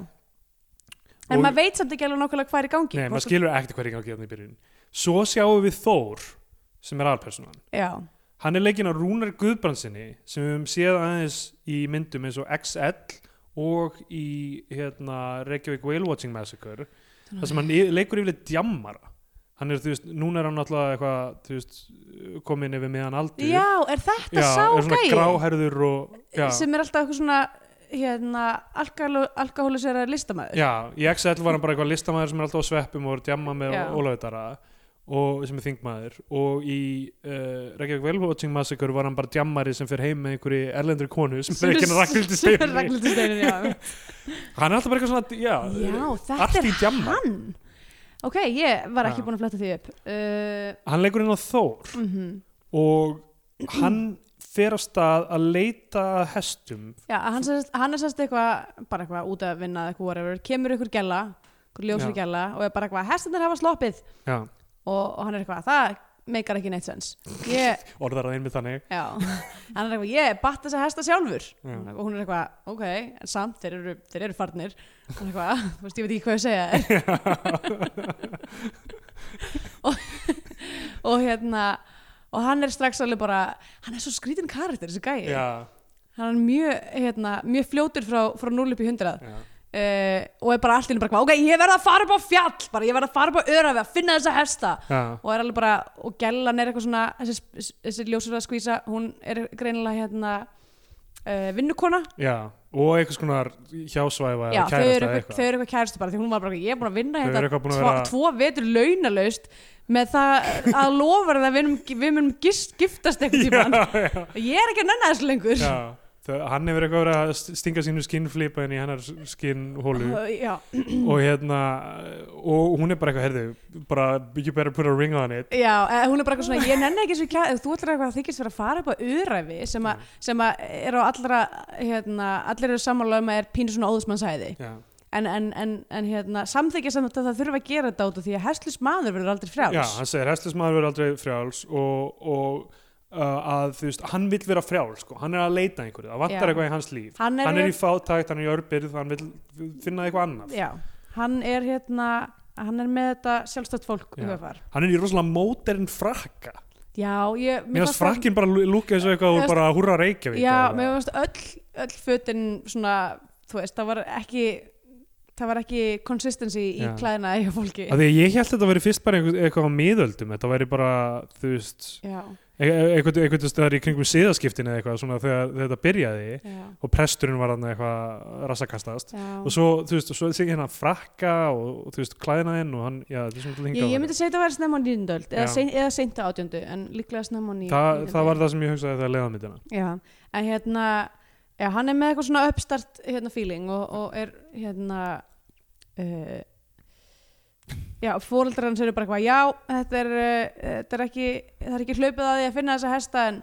En Og- maður veit samt ekki alveg nákvæmlega hvað er í gangi. nei, Hvort- maður skilur ekkert hvað er í gangi þannig í byrjun svo sjáum við Þór sem er alpersonan Já, hann er leikinn af Rúnar Guðbrandsinni sem við höfum séð aðeins í myndum eins og XL og í hérna, Reykjavík Whale Watching Massacre þar sem hann y- leikur yfirleitt djammara hann er, þú veist, núna er hann alltaf eitthvað, þú veist, komin yfir meðan aldur já, er þetta Já, sá er svona gæi? gráherður og já, sem er alltaf eitthvað svona hérna, alkohólisera listamæður já, í XL var hann bara eitthvað listamaður sem er alltaf á sveppum og er að djamma með Já. Ólaðutara og sem er þingmaður og í uh, Reykjavík Whale Watching Massacre var hann bara djammari sem fer heim með einhverju erlendri konu sem er ekki rakvildi steinni Ragnhildsteinin já. Hann er alltaf bara eitthvað svona, já, eh, já, þetta allt er í djamma. hann ok, ég var ekki Já. búin að fletta því upp uh, Hann leikur inn á Þór mm og hann fer á stað að leita að hestum. já, hann, sest, hann er sérst eitthvað bara eitthvað út að vinna eða eitthvað whatever. kemur ykkur gæla, ykkur ljósur Já. gæla og er bara eitthvað, hestinir hafa sloppið Já, og, og hann er eitthvað, það meikar ekki neitt sens ég, orðar að einmitt þannig. já, hann er eitthvað ég batt þessa hesta sjálfur Já. og hún er eitthvað, ok, en samt þeir eru, þeir eru farnir hann er eitthvað, "Ah, þú veist, ég veit ekki hvað ég að segja þér. og, og hérna og hann er strax alveg bara hann er svo skrítin karakter, þessi gæi Já, hann er mjög, hérna, mjög fljótur frá, frá 0 upp í 100 Já. uh, og er bara allt í einu bara eitthvað, ok, ég verð að fara upp á fjall bara, ég verð að fara upp á örafi að finna þessa hesta Já. og er alveg bara, og gellan er eitthvað svona þessi, þessi ljósur að skvísa hún er greinilega hérna uh, vinnukona Já. Og einhvers konar hjásvæfa Já, eða þau kærasta eru eða eitthvað, þau eitthvað. eru eitthvað kærustu bara því hún var bara, ég er búin að vinna Þau eru hérna eitthvað búin að tvo, vera- tvo vetur launalaust með það að lofa þér að við munum, við munum gist, giftast einhvern tímann Já, já. ég er ekki að nenna þessu lengur Já. Þau, hann hefur eitthvað verið að st- stinga sínu skinnflipa inn í hennar skinnhólu Uh, já, og hérna og hún er bara eitthvað, herðu, bara you better put a ring on it já eh, hún er bara eitthvað svona ég nenni ekki þessu kæð, þú ætlar eitthvað að þykist vera að fara upp á öðræfi sem, að- sem að er á allra hérna, allir eru sammála um að er pínu svona óðusmannsæði Já. en, en, en, en hérna, samþykja samt að það þurfa að gera þetta út af því að hestlus maður verður aldrei frjáls Já, hann segir hestlismæður verður aldrei frjáls og, og uh, að þú veist, hann vill vera frjáls sko. hann er að leita að einhverju, það vantar Já. eitthvað í hans líf hann er, hann er í fátækt, hann er í örbyrð hann vill finna eitthvað annað Já, hann er hérna hann er með þetta sjálfstætt fólk Já. höfar. hann er í rosalega mótern frakka Já, ég mér finnst frakkin bara lúka þessu eitthvað Mér og fannst- bara húrra Reykjavík Já, eða- mér finnst öll, öll fötin svona, þú veist, það var ekki það var ekki consistency í Já. klæðina í fólki Af því að ég held að þetta væri fyrst bara einhver, eitthvað á miðöldum, þetta væri bara, þú veist, Já, e- e- eitthvað, eitthvað stöðar í kringum siðaskiptin eða eitthvað, svona þegar þegar þetta byrjaði já, og presturinn var hann eitthvað rassakastast já og svo, þú veist, og svo sé hérna frakka og, og þú veist, klæðinaðinn og hann, já, þetta er svona til Ég, hingað. ég myndi segja þetta að vera snemma á nýjöndöld eða, Já. sein, eða seint á átjöndu, en líklega snemma á Þa, nýjöndöld það var það sem ég hugsaði þegar leiða myndina. Já, en hérna já, hann er með eitthvað svona uppstart hérna feeling og, og er hérna uh, já, fóreldrar hans eru bara eitthvað já, þetta er, uh, þetta er ekki það er ekki hlaupið að því að finna þessa hesta en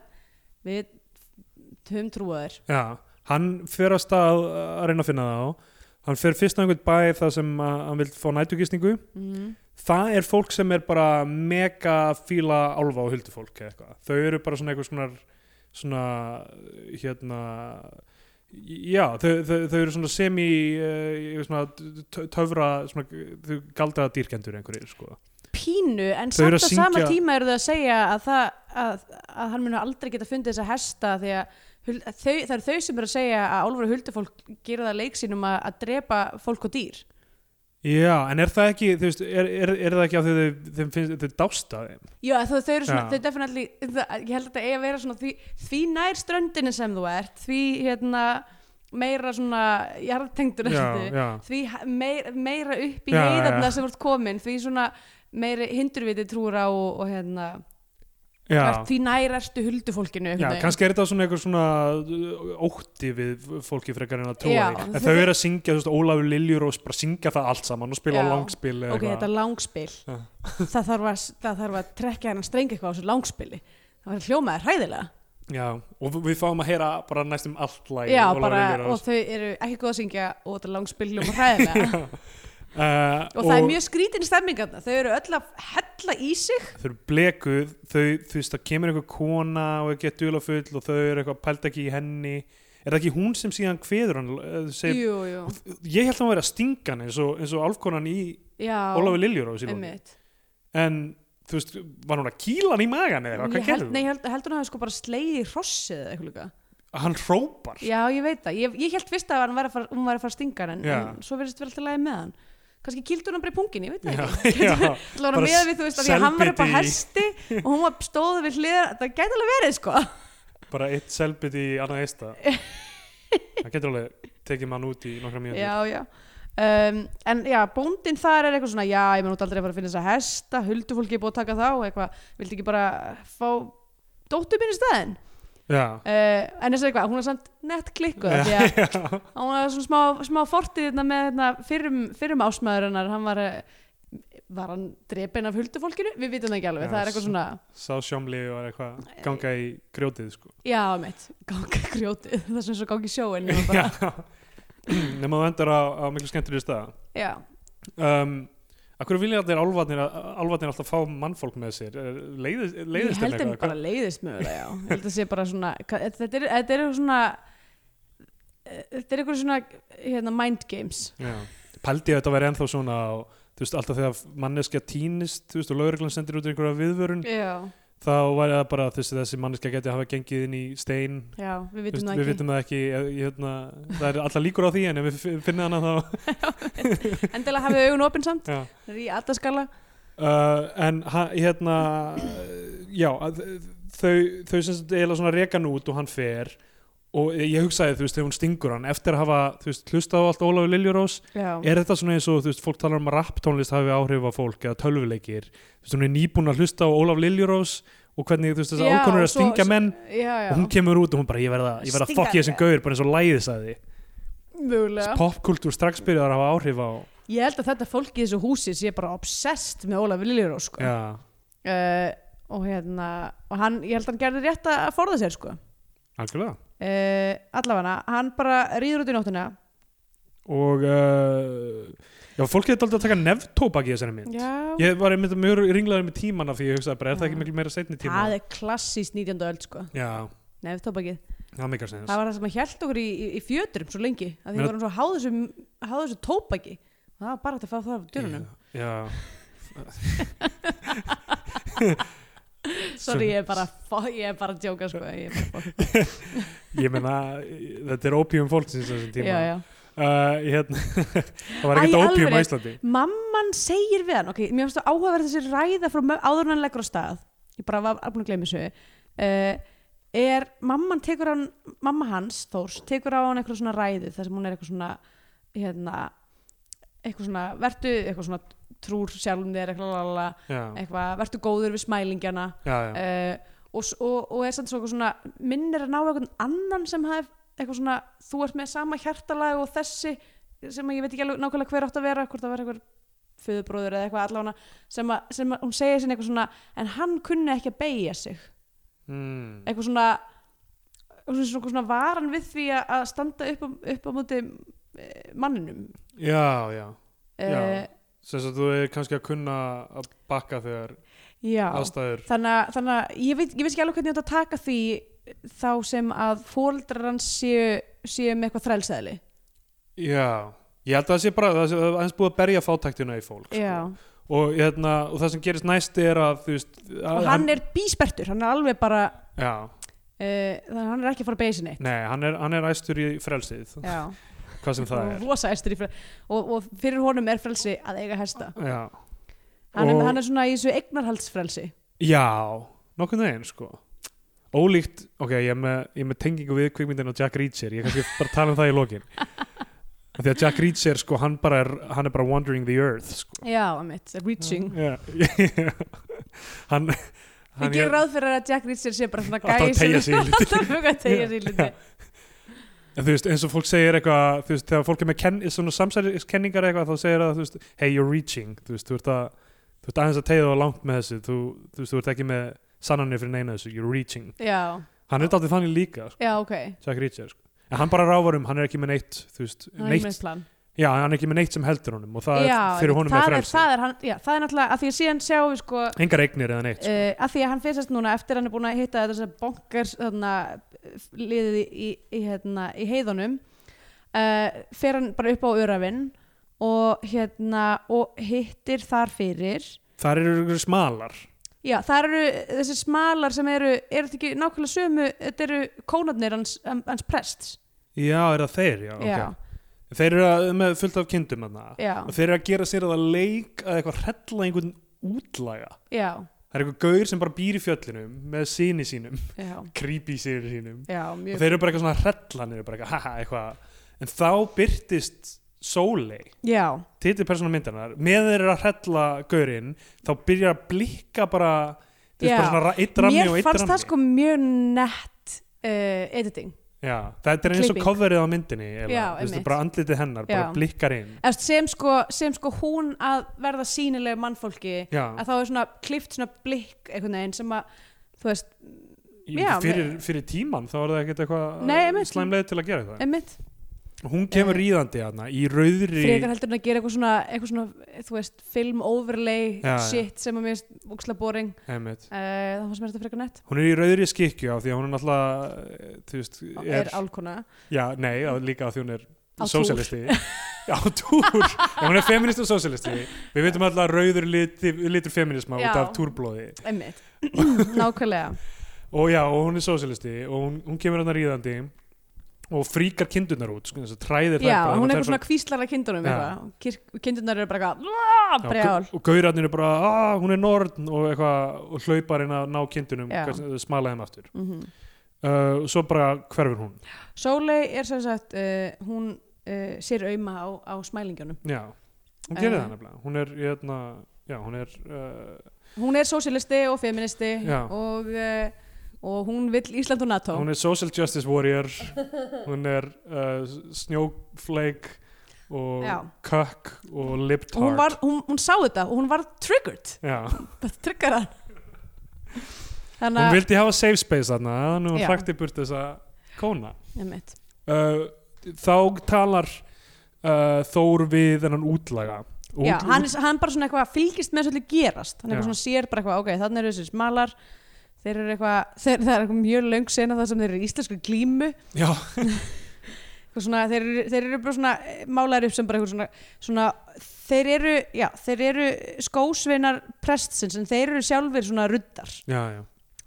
við höfum trúaður Já, hann fer að stað að reyna að finna það á, hann fer fyrst á einhvern bæ þar sem að, hann vil fá nætugisningu, mm. það er fólk sem er bara mega fíla álfa og huldufólk eða eitthvað, þau eru bara svona eitthvað svona, svona hérna já, þau, þau, þau eru svona semi uh, svona tö- töfra svona, þau galdra dýrkendur einhverjir sko. pínu, en Þau eru að samt að sama syngja- tíma eru þau að segja að, það, að, að hann muni aldrei geta fundið þessa hesta því að hul- að þau, það eru þau sem eru að segja að Álfur og Huldufólk gera það leik sínum að, að drepa fólk og dýr já, en er það ekki þú veist, er, er, er það ekki af því að þau, þau, finnst, þau dásta þeim Já, þau, þau eru svona, Já. þau definitely, það, ég held að þetta eigi að vera svona því, því nær ströndinu sem þú ert, því hérna meira svona jarðtengdur ertu, já, já, því ha- meir, meira upp í Já, já. heiðarna sem þú ert komin, því svona meiri hindurviti trúur á og, og hérna, ert, já. því nær ertu huldufólkinu. Já, einhvern veginn. kannski er þetta svona eitthvað svona uh, ótti við fólki frekar en að trúa Já, því. þau- En þau eru að syngja, þú veist, Ólafur Liljurós bara syngja það allt saman og spila Já. langspil eða Ok, þetta eitthvað. er langspil, Já. það þarf að, það þarf að trekja hennan streng eitthvað á þessu langspili, það var hljómaður hræðilega. Já, og við- við fáum að heyra bara næstum allt lagi Já, Ólafur bara, og Liljurós. þau eru ekki góð að syngja og þetta er langspil hljóma hræðilega. Uh, og það er mjög skrítin stemming þarna, þau eru öll að hella í sig Þau eru blekuð, þau, þú veist, það kemur einhver kona og er gett dulafull og þau eru eitthvað pælt ekki í henni. Er það ekki hún sem síðan kveður hann? eh, Segir, jú, jú, ég held að hann væri að stinga hann eins og, eins og álfkonan í já Ólafur Liljurós í lóni. einmitt. en þú veist, var hún að kýla hann í magan eða Ég hvað held, gerði nei, ég held, heldur hann að sko bara slegið í hrossið eða eitthvað líka. hann hrópar já, ég veit það, ég, ég held fyrst að hann var að fara, hún var að fara að stinga hann en, Já. en svo verðist vel til að lægi með hann kannski kildur hann bara í pungin, ég veit það Já, ekki já, Það var bara með við, þú veist, af því að hann var upp á selbiti í- hesti og hún var stóð við hliðar, það gæti alveg verið, sko. bara eitt selbit í annað eista það getur alveg tekið mann út í nokkra mjög Já, já. Um, en já, bóndin þar er eitthvað svona, já, ég mun út aldrei að fara að finna þessa hesta, huldufólki er búið að taka þá, eitthvað, vildi ekki bara fá dóttu mín í staðinn? já, Uh, en þess að eitthvað, hún er samt nett klikkuð, af því að já. hún er svona smá, smá fortið hérna með hérna, fyrrum, fyrrum ásmaður hennar, hann var, eh, var hann drepinn af huldufólkinu? Við vitum það ekki alveg, Já, það er eitthvað svona, sá sjómli og er eitthvað ganga í grjótið sko. já, mitt, gangi grjótið, það sem svo gangi sjóin, nema bara, nema þú endar á, á miklu skemmtilega stað já, um, Akkur vilja allir álfarnir, álfarnir alltaf fá mannfólk með sér? Er- Leiðist, ég leiðist þeim held þeim bara Hvað- leiðist mögulega já. ég held að sé bara svona hva- þetta er, þetta er eitthvað svona eh, þetta er eitthvað svona hérna, mind games Já. Pældi að þetta væri ennþá svona á, þú veist, alltaf þegar manneskja týnist, þú veist, og lögreglan sendir út einhverja viðvörun, já, þá væri það bara þessi, þessi manneska geti hafa gengið inn í stein já, við Þú vitum veist, það við ekki vitum það ekki ég, ég, hérna, það er alltaf líkur á því en ef við fi- finnum hana þá endilega hafið augun opinn samt, já. það er í aldaskala uh, en ha- hérna já að, þau, þau sem sagt eiginlega svona rekan út og hann fer og ég hugsaði þú veist þegar hún stingur hann eftir að hafa þú veist hlustað á allt Ólafur Liljurós já, er þetta svona eins og þú veist fólk talar um að rapptónlist hafi áhrif á fólk eða tölvuleikir þú veist hún er nýbúin að hlusta á Ólafur Liljurós og hvernig þú veist þess að Já, ákonur er að svo- stinga svo- menn já, já, og hún kemur út og hún bara ég verða, ég verða að Stinga fokki þessum þig. gaur bara eins og læðis að því mögulega popkultúr strax byrjar að hafa áhrif á ég held að þetta fólk í þessu húsi sé bara obsessed með Ólaf Viljuró sko. já, uh, og hérna og hann, ég held að hann gerði rétt að að forða sér sko. algjörlega uh, allavega, hann bara rýður út í nóttina og uh, já, fólk getur alltaf að taka neftóbak í þessari mynd já, ég var einmitt mjög ringlaður með tímana því ég hugsaði bara, er það Já. ekki miklu meira setni tíma það er klassíst 19. öld sko. já, neftóbakið, það meikar sens það var það sem að hjælt okkur í, í, í fjötrum svo lengi, að því Mér- við vorum svo háðu þessu, háðu þessu tóbaki það var bara hægt að fá það af dyrunum já, sorry, ég er bara, fó- ég er bara að djóka sko. ég er bara, fó- ég meina þetta er ópíum fólksins þessum tíma já, já Uh, hérna, það var Æ, ekkert ópíum á alvöru. Íslandi Mamman segir við hann, ok, mér finnst það áhugaverð þessi ræða frá mö- áður en hann leggur á stað, ég bara var alveg að gleyma þessu, uh, er mamman tekur hann, mamma hans, Þórs, tekur á hann eitthvað svona ræðu þar sem hún er eitthvað svona, hérna, eitthvað svona, vertu, eitthvað svona trúr sjálfum þér, eitthvað, lalala, já, eitthvað, vertu góður við smælingjana já, já, uh, og, s- og, og er samt svo eitthvað svona, minnir að ná eitthvað annan sem hafði eitthvað svona, þú ert með sama hjartalag og þessi sem að ég veit ekki alveg nákvæmlega hver átt að vera hvort það var eitthvað föðubróður eða eitthvað allána sem, að, sem að hún segir sinni eitthvað svona en hann kunni ekki að beigja sig Eh. mm, eitthvað svona eitthvað svona, svona varan við því að- að standa upp á, upp á móti eh, manninum já, já. Eh, sem þess að þú er kannski að kunna að bakka þegar já. aðstæður þannig að, þannig að ég, veit, ég veist ekki alveg hvernig ég átt að taka því þá sem að fóreldrar hans séu, séu með eitthvað þrælsæðli já, ég held að það sé bara það sé það er aðeins búið að berja fátæktina í fólk sko. og, hérna, og það sem gerist næst er að þú veist og hann er bíspertur, hann er alveg bara uh, já, þannig að hann er ekki að fara að beigja sinni nei, hann er, hann er æstur í frelsið já, hvað sem það er rosa estur í frelsi og, og fyrir honum er frelsi að eiga hesta já, hann, er, Og- hann er svona í þessu eignarhaldsfrelsi já nokkurn veginn sko ólíkt, ok, ég er með, ég er með tengingu við kvikmyndin á Jack Reacher, ég er kannski bara að tala um það í lokin Af því að Jack Reacher sko, hann bara er, hann er bara wandering the earth sko. já, amitt, reaching Já. hann Við gerum ráð fyrir að Jack Reacher sé bara svona Alltaf að gæi sem- teygja sig í hluti. Alltaf fuga að tegja sig í hluti En þú veist, eins og fólk segir eitthvað, þú veist, þegar fólk er með ken, svona samsæliskenningar eitthvað, þá segir það, þú veist, hey, you're reaching, þú veist, þú ert að, þú ert aðeins að tegja þá langt með þessu, þú, þú veist, þú ert ekki með sannanir fyrir neina þessu, you're reaching. Já, Hann er daldið þannig líka, sko, já, ok Jack Reacher, sko. En hann bara ráfar um, hann er ekki með neitt, þú veist, Hann er neitt, með plan. já, hann er ekki með neitt sem heldur honum og það já, er fyrir honum það með er- frelsi. það er, hann, já, það er náttúrulega, að því að síðan sjáum við sko, Engar eignir eða neitt, sko. uh, að því að hann fyrstast núna eftir að hann er búin að hitta þess að bonkar þarna, liðið í, í, í, hérna, í heiðunum uh, fer hann bara upp á Örafinn og hérna og hittir þar fyrir Það eru einhverjir smalar. Já, það eru þessi smalar sem eru, eru þetta ekki nákvæmlega sömu, þetta eru kónarnir hans, hans prests. Já, er það þeir, já, ok. Þeir eru að, með fullt af kindum, þarna. Já, Og þeir eru að gera sér að það leik að eitthvað hrella einhvern útlaga. já, Það er eitthvað gaur sem bara býr í fjöllunum með síni sínum, já, já, creepy síni sínum já, og mjög. þeir eru bara eitthvað svona hrellanir bara eitthvað, haha, eitthvað en þá byrtist Sóley Já, titið persónum myndarinnar, með þeir eru að hrella gaurinn, þá byrjar að blikka bara, þú veist, Já. bara svona ra- einn rammi og mér einn fannst rammi það sko mjög nett uh, editing. Já, það er eins og Klipping. coverið á myndinni eða, Já, þú veist, einmitt. bara andlitið hennar, bara Já. blikkar inn Eftir, sem, sko, sem sko hún að verða sýnileg mannfólki, Já, að þá er svona klift svona blikk einhvern veginn sem að, þú veist, í- já, fyrir, mér- fyrir tíman þá er það ekkert Nei, eitthvað einmitt. slæmlega til að gera það einmitt, Hún kemur ríðandi hana í rauðri frekar heldur en að gera eitthvað svona, eitthvað svona, þú veist, film overlay Já, já. shit sem að mér finnst óksla boring, einmitt. uh, þá fannst mér þetta frekar nett. hún er í rauðri skikju af því að hún er náttúrulega eh, þú veist, Er, er, er álkona. já, nei, á- líka af því hún er Á túr. sósialisti Já, á túr, ef hún er feminist og sósialisti við veitum alltaf rauður litur, litur feminisma út Já. af túrblóði Einmitt. Nákvæmlega. og já, og hún er sósialisti og hún, hún kemur hann að ríðandi og fríkar kindurnar út sko, þess að træðir þær Já, bara, þær hún er eitthvað bara- svona kvíslar að kindunum Já. eitthvað. Kirk- Kindurnar eru bara eitthvað Já, brjál. og gaurarnir er bara, að hún er norn og eitthvað, og hlaupar inn að ná kindunum Já. hvers- smala þeim aftur Mm -hmm. uh, og svo bara hverfur hún Sólei er sem sagt, uh, hún uh, sér auðma á, á smælingunum. já, hún gerir Eh. það nefnilega hún er, hérna, já, hún er uh, Hún er sósilisti og feministi Já. og, uh, og hún vill Ísland og NATO. hún er social justice warrior hún er uh, snjóflake og Já. kökk og og hún, liptard var, hún, hún sá þetta og hún var triggered. já, Það trigger hann. Þannig hún að, vildi hafa safe space þarna, þannig að Já. hún hrækti burt þessa kóna einmitt. uh, þá talar uh, Þór við þennan útlaga Og Já, út- hann, er- hann bara svona eitthvað fylgist með þessu öllu gerast. Hann eitthvað Já. svona sér bara eitthvað, ok, þannig eru þessir smalar, þeir eru eitthvað, þeir, það er eitthvað mjög löng sena þar sem þeir eru í íslensku glímu já, Eitthvað svona, þeir, eru- þeir eru bara svona málaður upp sem bara eitthvað svona, svona þeir eru, já, þeir eru skósveinar prestsins en þeir eru sjálfur svona ruddar já, já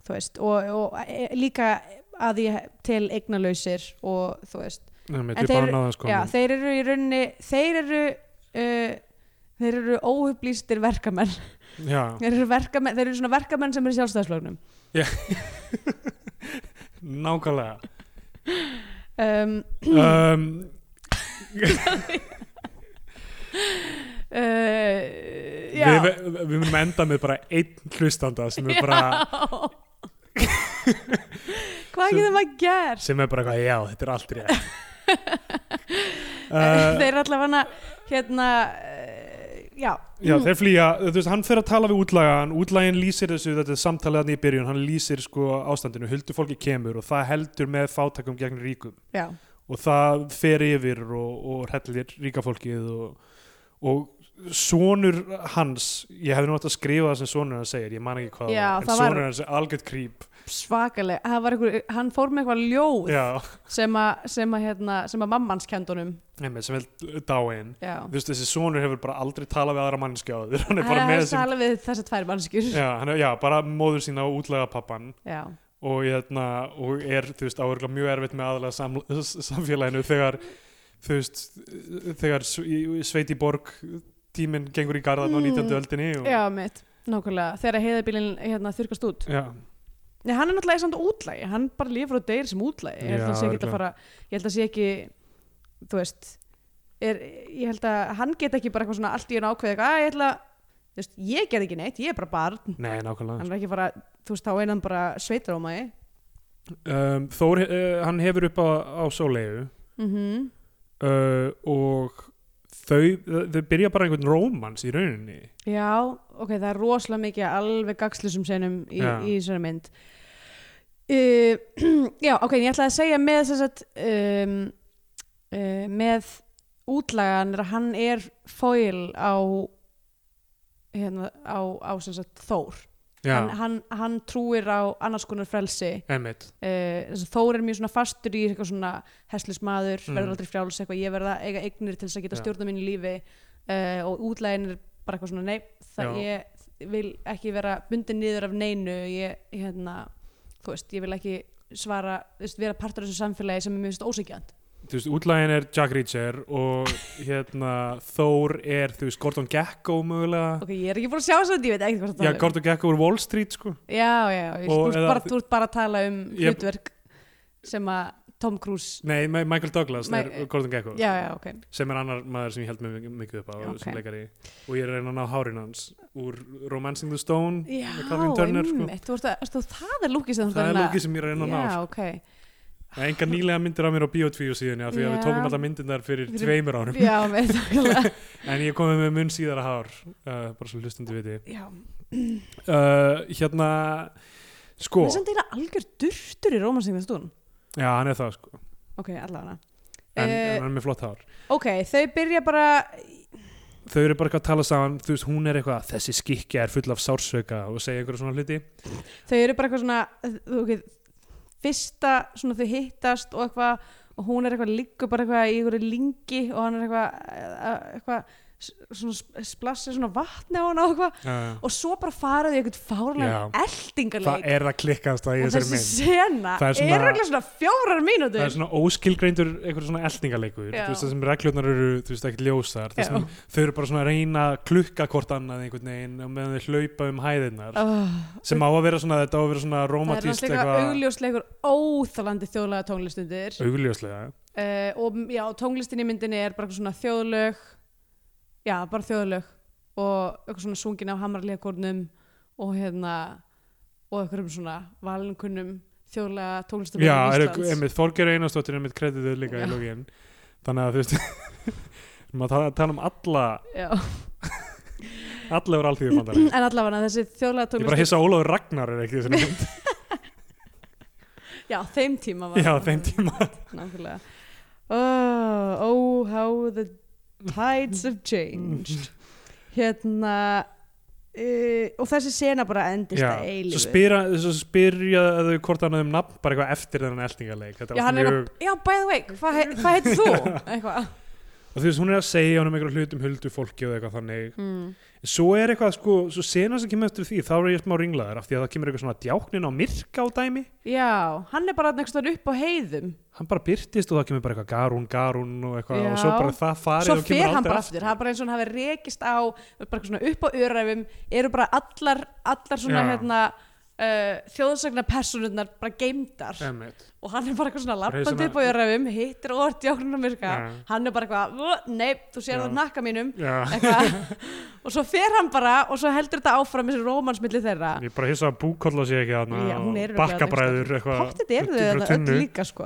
þú veist, og, og e, líka að því til eignalausir og þú veist, Nefnir, En ég bara þeir- náða sko já, þeir eru í rauninni þeir eru uh, þeir eru óhublýstir verkamenn já, þeir eru, verkamenn, þeir eru svona verkamenn sem eru í sjálfstæðslögnum nákvæmlega um, um, uh, já við, við, við munum enda með bara einn hlustanda sem er bara Já. Hvað Sem- getur maður gert? sem er bara eitthvað, já, þetta er allt rétt Þeir uh, eru allavega hana, hérna, uh, já, já, þeir flýja þú veist, hann fer að tala við útlagan útlagin lýsir þessu, þetta er samtalaðan í byrjun hann lýsir sko ástandinu, huldufólki kemur og það heldur með fátakum gegn ríkum já, og það fer yfir og, og hellir ríka fólkið og, og sonur hans, ég hefði nú átt að skrifa það sem sonur hans segir, ég man ekki hvað Já, það það var en var- sonur hans er algjörð krýp svakaleg, það var einhver, hann fór með eitthvað ljóð já, sem að, sem að, hérna, sem að mammans kendunum, nefnir, sem er dáin já. þú veist, þessi sonur hefur bara aldrei talað við aðra mannskja áður, hann er Hann bara með helst þessum alveg við þessar tvær mannskjur, já, hann er, já, bara móður sína og útlega pappan já, og, hérna, og er, þú veist, áhuglega mjög erfitt með aðalega sam, samfélaginu þegar, þú veist þegar s- í- sveit í borg tíminn gengur í garðan á Mm. 19. öldinni og, já, mitt, nákvæmlega, þegar heiðabílinn, hérna, þurkast út. Já, Nei, hann er náttúrulega samt útlægi, hann bara lifur og deyr sem útlægi, ég held Já, að sé ekki að örugglega. fara, ég held að sé ekki, þú veist, er, ég held að hann get ekki bara eitthvað svona allt í hann ákveðið, að ég ætla, þú veist, ég get ekki neitt, ég er bara barn, nei, nákvæmlega hann er ekki að fara, þú veist, þá einan bara sveitarómaði. um, Þór, uh, hann hefur upp á, á sólegu Mm Mhm. -hmm. uh, og þau, þau byrja bara einhvern rómans í rauninni Já, ok, það er rosalega mikið af alveg gagslusum senum í, Já. í þessari mynd. Uh, já, ok, en ég ætlaði að segja með þess að, um, uh, með útlagan er að hann er fóil á, hérna, á, á sem sagt Þór. Hann, Já, hann, hann trúir á annars konar frelsi. emmitt Uh, þess að Þór er mjög svona fastur í eitthvað svona hesslismadur, Mm. verður aldrei frjáls eitthvað, ég verða eiga eignir til þess að geta Já. stjórna mínu lífi uh, og útlæðin er bara eitthvað svona nei, það Já. ég vil ekki vera bundin niður af neinu ég, hérna, þú veist, ég vil ekki svara, þú veist, vera partur af þessu samfélagi sem er mjög ósækjönd Þú veist, útlægin er Jack Reacher og hérna Þór er, þú veist, Gordon Gekko mögulega ok, ég er ekki búin að sjá þess að ég veit ekki hvað Já, það Gordon Gekko úr Wall Street, sko já, já, já, ég- þú Og ert eða- bara, þú ert bara að tala um Ég- hlutverk sem að Tom Cruise Nei, Ma- Michael Douglas Ma- er Gordon Gekko já, já, ok, sem er annar maður sem ég held mig mikið upp á Ok. sem leikari og ég er að reyna að ná hárin hans úr Romancing the Stone Já, með Kathleen Turner, sko einmitt, þú ert að, þú, það er lúkið sem þú ert Það að er reyna- lúkið sem ég er að reyna að ná, sko Já, ok, Það er enga nýlega myndir af mér á Bíotvíu síðan af því að við Já. tókum alltaf myndirnar fyrir Fyrir- tveimur árum já, með þakkarlega en ég komið með mun síðara hár uh, bara svo hlustandi viti Já, uh, hérna sko, það er samt eina algjör durtur í rómansingðastún já hann er það sko en, Ok, allavega en Eh, hann er með flott hár Ok, þau byrja bara þau eru bara eitthvað að tala saman þú veist hún er eitthvað, þessi skikja er full af sársöka og segja einhverja svona hluti Þau eru bara eitthvað svona ok, Fyrsta, svona þau hittast og eitthvað og hún er eitthvað líka bara eitthvað í einhverju lingi og hann er eitthvað, að- eitthvað s- svona sp- splassir svona vatni á hann og eitthvað Uh, og svo bara faraði eitthvað fárlega eldingarleik það er það klikkaðast að ég og þessari þessi mynd sena Það er er svona- eitthvað svona fjórar mínútur Það er svona óskilgreindur einhver svona eldingarleikur Já. þú veist það sem reglurnar eru, þú veist ekki ljósar það Já. sem þau eru bara svona að reyna að klukka hvort annað einhvern veginn og meðan þau hlaupa um hæðirnar oh, sem á að vera svona, þetta á að vera svona það er romantíst náttúrulega augljósleikur óþalandi þjóðlega tónlistundir uh, augljóslega og já, tónlistin í myndinni er bara eitthvað svona þjóðlög já, bara þjóðlög og eitthvað svona sungin af hamarleikornum og hérna og eitthvað svona valinkunnum þjóðlega tónlistum Já, er, einmitt, Þorgeir Einarsdóttir er einmitt kreditið líka Já. í lógin þannig að þú veist maður tala, tala um alla, já. alla úr alþýðumandari en allavega þessi þjóðlega ég bara tónlistin hissa að Ólafur Ragnar er ekki í þessari mynd já, þeim tíma var já, þeim tíma Nákvæmlega. Oh, oh, how the tides have changed. Hérna, uh, og þessi sena bara endist Já, að svo, eilífu. spyra, svo spyrjaðu hvort hann um nafn bara eitthvað eftir þennan eldingarleik Þetta er allt Já, hann er mjög- eitthvað, já, by the way, hvað he, hva heitir þú? Eitthvað. og þú veist, hún er að segja honum einhverjum hlutum huldu fólki og eitthvað þannig Mm. svo er eitthvað, sko, svo sena sem kemur eftir því þá er ég smá ringlaður af því að það kemur eitthvað svona djáknin á myrka á dæmi Já, hann er bara einhverstað upp á heiðum. hann bara byrtist og það kemur bara eitthvað garún, garún og eitthvað Já. og svo bara það farið Svo og kemur fer hann aldrei bara aftur, það er bara eins og hann hafi rekist á, bara eitthvað svona upp á öræfum, eru bara allar, allar svona, Já. hérna, uh, þjóðsagnapersonurnar bara geimdar. Einmitt. og hann er bara eitthvað svona Bara lappandi svona- upp á jörgum hittir orð djáknunum virka Já. hann er bara eitthvað, "Vö, nei, þú sér Já. það nakka mínum Já, eitthvað, og svo fer hann bara og svo heldur þetta áfram þessi rómansmilli þeirra ég bara hissa að búkolla sé ekki Já, hún hann er bakkabræður eitthvað Pottið eru út í þau frá þetta öll tunnu. líka sko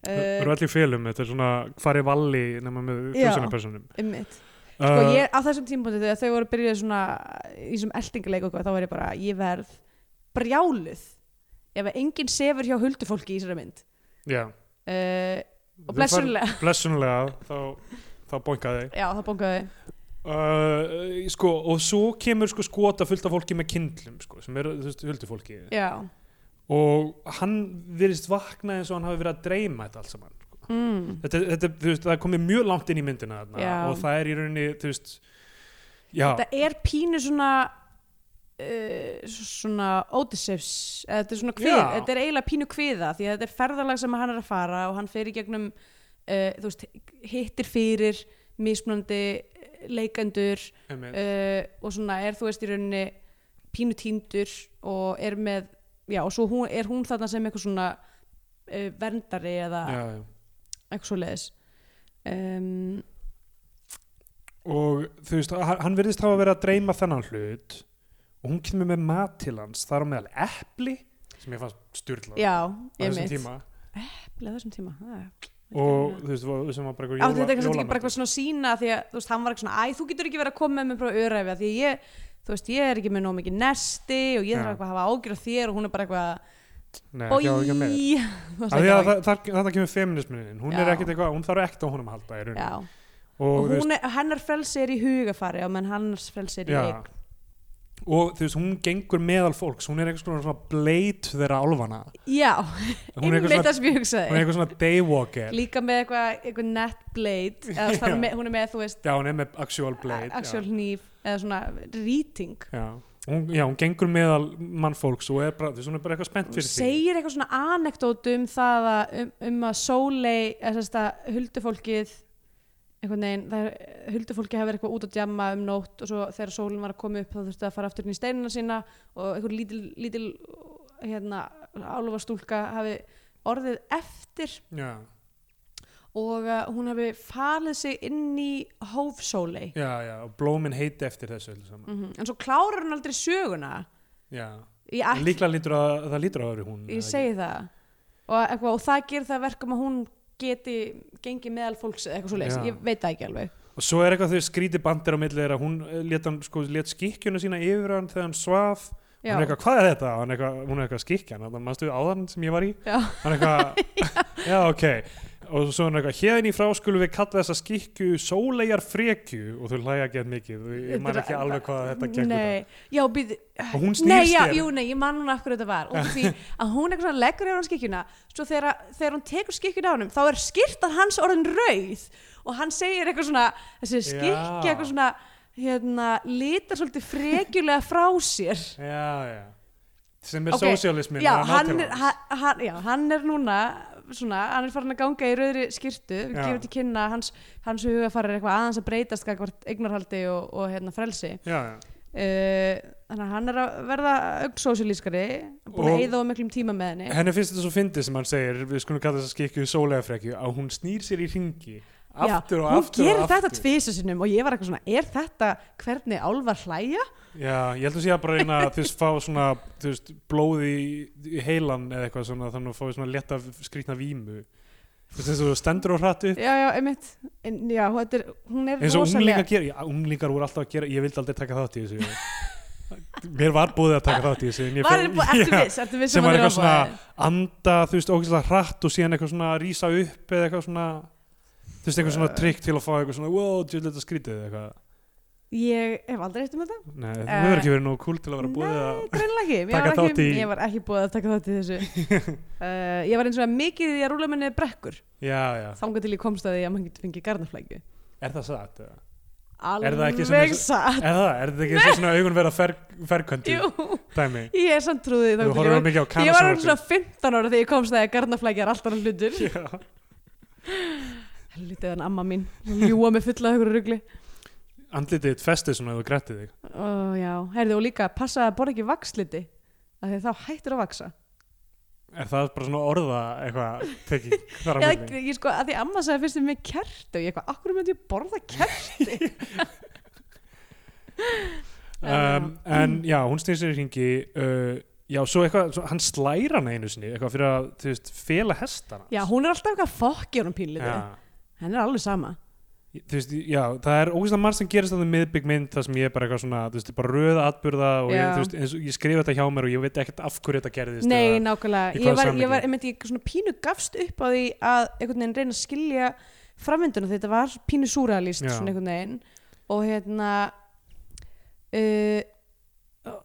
Þau eru uh, allir í félum, þetta er svona farið valli nema með Já. þjóðsanapersonum einmitt. Uh. Sko ég, á þessum tímpúndi þegar þau voru byrjuð svona í þessum eldingaleik og eitthvað, þá var ég bara, ég verð brjáluð ef að enginn sefur hjá huldufólki í þessari mynd Já, uh, og Þú blessunlega blessunlega þá, þá bónkaði já, það bongaði uh, sko, og svo kemur sko skota fullt af fólki með kindlum sko, sem eru, þú veist, huldufólki já, og hann virðist vakna eins og hann hafi verið að dreyma þetta allt saman sko. mm. þetta, þetta, þú veist, það er komið mjög langt inn í myndina þarna, Já. og það er í rauninni þú veist, já, þetta er pínu svona uh, svona Odysseus eða þetta er svona kvið, Já. þetta er eiginlega pínu kviða því að þetta er ferðalag sem hann er að fara og hann fer í gegnum uh, þú veist, hittir fyrir mismunandi eh, leikendur einmitt, uh, og svona er þú veist í rauninni pínu tíndur og er með já og svo hún, er hún þarna sem eitthvað svona uh, verndari eða já, já. eitthvað svo leiðis um, og þú veist, hann hann virðist hafa verið að dreyma þennan hlut og hún kemur með mat til hans, þar á meðal epli sem ég fannst styrla já, á ég þessum mitt tíma Bleið þessum tíma, það er og þú veist, var- sem var bara Átti þetta eitthvað ekki bara jólamat. eitthvað svona sína því að þú veist, hann var eitthvað svona, æ, þú getur ekki verið að koma með mér frá öræfi af því að ég, þú veist, ég er ekki með nóg mikið nesti og ég þarf Já. eitthvað að hafa ágjur af þér og hún er bara eitthvað, Nei, bói, ekki á- ekki á meir. þú veist, Af því eitthvað að það, það, það kemur feminisminin hún er Já. ekkert eitthvað, hún þarf ekkert á honum að halda í rauninni. Já, og, og þú veist, hún er, hennar frelsi er í hugafari og menn hannars frelsi er í Já. eign og þú veist, hún gengur meðal fólks hún er eitthvað svona, svona bleit þeirra álfana Já, hún er einmitt eitthvað það svona, sem ég hún er hugsaði eitthvað svona daywalker Líka með eitthvað, eitthvað net blade eða þú veist, það er með- hún er með, þú veist, já, hún er með actual blade actual hníf eða svona rýting já. Já. Hún, já, hún gengur meðal mannfólks og er bara, þú veist, hún er bara eitthvað spennt Hún fyrir segir eitthvað svona anekdótu um það að, um, um að sólei, eða þess að huldufólkið einhvern veginn, það er, huldufólki hefur eitthvað út að djamma um nótt og svo þegar sólinn var að koma upp þá þurfti það að fara aftur inn í steinina sína og einhver lítil, lítil hérna, álfastúlka hafi orðið eftir því já, og uh, hún hafi falið sig inn í hófsólei já, já, og blómin heiti eftir þessu öllu saman. mm en svo klárar hún aldrei söguna já, ég, ætl, líklega lítur að það lítur að það eru hún eða ég ekki? segi það og, eitthvað, og það gerir það verkum að hún geti gengið meðal fólks eða eitthvað svo Já. ég veit það ekki alveg Og svo er eitthvað þau skríti bandir á milli þeirra, hún let, hann, sko, let skikkjuna sína yfir hann þegar hann svaf, já, hún er eitthvað, hvað er þetta? Og Hann er eitthvað, hún er eitthvað skikkjan, þannig að mannstu áðan sem ég var í, já, hann er eitthvað, já ok, og svo er hann eitthvað hérðin í frá skulum við kalla þessa skikku sólegar frekju og þau hlæja ekki að mikið og ég man ekki alveg hvað þetta gengur Nei, já, býð og hún Nei, snýrst já, þér jú, nei, ég man núna af hverju þetta var út af því að hún eitthvað svona leggur yfir hann skikkjuna svo þegar, þegar hún tekur skikkjuna á hann þá er skyrtan hans orðin rauð og hann segir eitthvað svona þessi skikki Já. eitthvað svona hérna, litar svolítið frekjulega frá sér já, já. sem er Ok, okay. sósialismin já, hann er, ha- hann, já, hann er núna svona, hann er farin að ganga í rauðri skyrtu við Já. gefum til kynna að hans, hans hugafarir eitthvað aðeins að breytast gagvart eignarhaldi og, og hérna, frelsi já, já. Eh, þannig að hann er að verða augsósialískari, búin Og- að eyða á miklum tíma með henni henni finnst þetta svo fyndið sem hann segir við skulum kalla þessa skikku sólegar frekju að hún snýr sér í ringi aftur Já, og hún aftur gerir og þetta aftur. tvisa sinnum og ég var eitthvað svona, er þetta hvernig álvar hlæja? Já, ég held að sé að bara reyna að þú veist fá svona þú veist, blóði í- í heilan eða eitthvað svona þannig að fá svona létta skrýtna vímu þú veist eins og þú stendur og hratt upp Já, já, einmitt en, já, þetta er, hún er eins og rosalega unglingar gera, já, unglingar voru alltaf að gera ég vildi aldrei taka þátt í þessu mér var búið að taka þátt í þessu en ég Var fer- þetta búið, ertu Já, viss, ertu viss sem um að var þetta eitthvað svona anda þú veist ógeðslega hratt og síðan eitthvað svona rísa upp eða eitthvað svona þú veist eitthvað Eh. svona trikk til að fá eitthvað svona wow, djöfull er þetta skrýtið eða eitthvað Ég hef aldrei eftir með þetta Nei, þú Eh, hefur ekki verið nógu kúl til að vera búið að Nei, greinlega ekki, ég taka var þátt ekki, í- ég var ekki búið að taka þátt í þessu uh, Ég var eins og að mikið í að rúla minni brekkur já, já, þangað til ég komst að því að maður getur fengið garnaflækju er það satt? Eða? Er það ekki sem Alveg þessu- satt Er það? Er þetta ekki eins og svona augun vera fer, ferkvöndu Jú, dæmi? ég er samt trúðið Þú horfum við mikið á Ég var orðin kannasjónvarpið. svona 15 ára þegar ég komst að því að garnaflækja er alltaf hlutur Helvitið hann amma mín hún Ljúa með fulla hugur rugli Andlitið þitt festið svona ef þú grættið þig. Ó, já, heyrðu og líka passa að borða ekki vaksliti af því þá hættir að vaksa Er það bara svona orða eitthvað tekið þar á Eða, milli? ég, ég sko, að því amma sagði fyrst með kerti og ég eitthvað, akkur myndi ég borða kerti Um, en já, hún snýr sér í hringi. Uh, já, svo eitthvað, svo, hann slæra hana einu sinni, eitthvað fyrir að, þú veist, fela hestana. Já, hún er alltaf eitthvað fokki honum pínlítið Já. Henn er alveg sama Þú veist, já, það er ógeðslega margt sem gerist þannig miðbygg mynd það sem ég er bara eitthvað svona, þú veist, bara röða atbyrða og ég, Já. þú veist, eins og ég skrifa þetta hjá mér og ég veit ekkert af hverju þetta gerðist. Nei, eða- nákvæmlega, í ég hvaða var, ég samhengi? var einmitt, ég svona pínu gafst upp á því að einhvern veginn reyna að skilja framvinduna þetta var pínu súralist Já. svona einhvern veginn og hérna uh,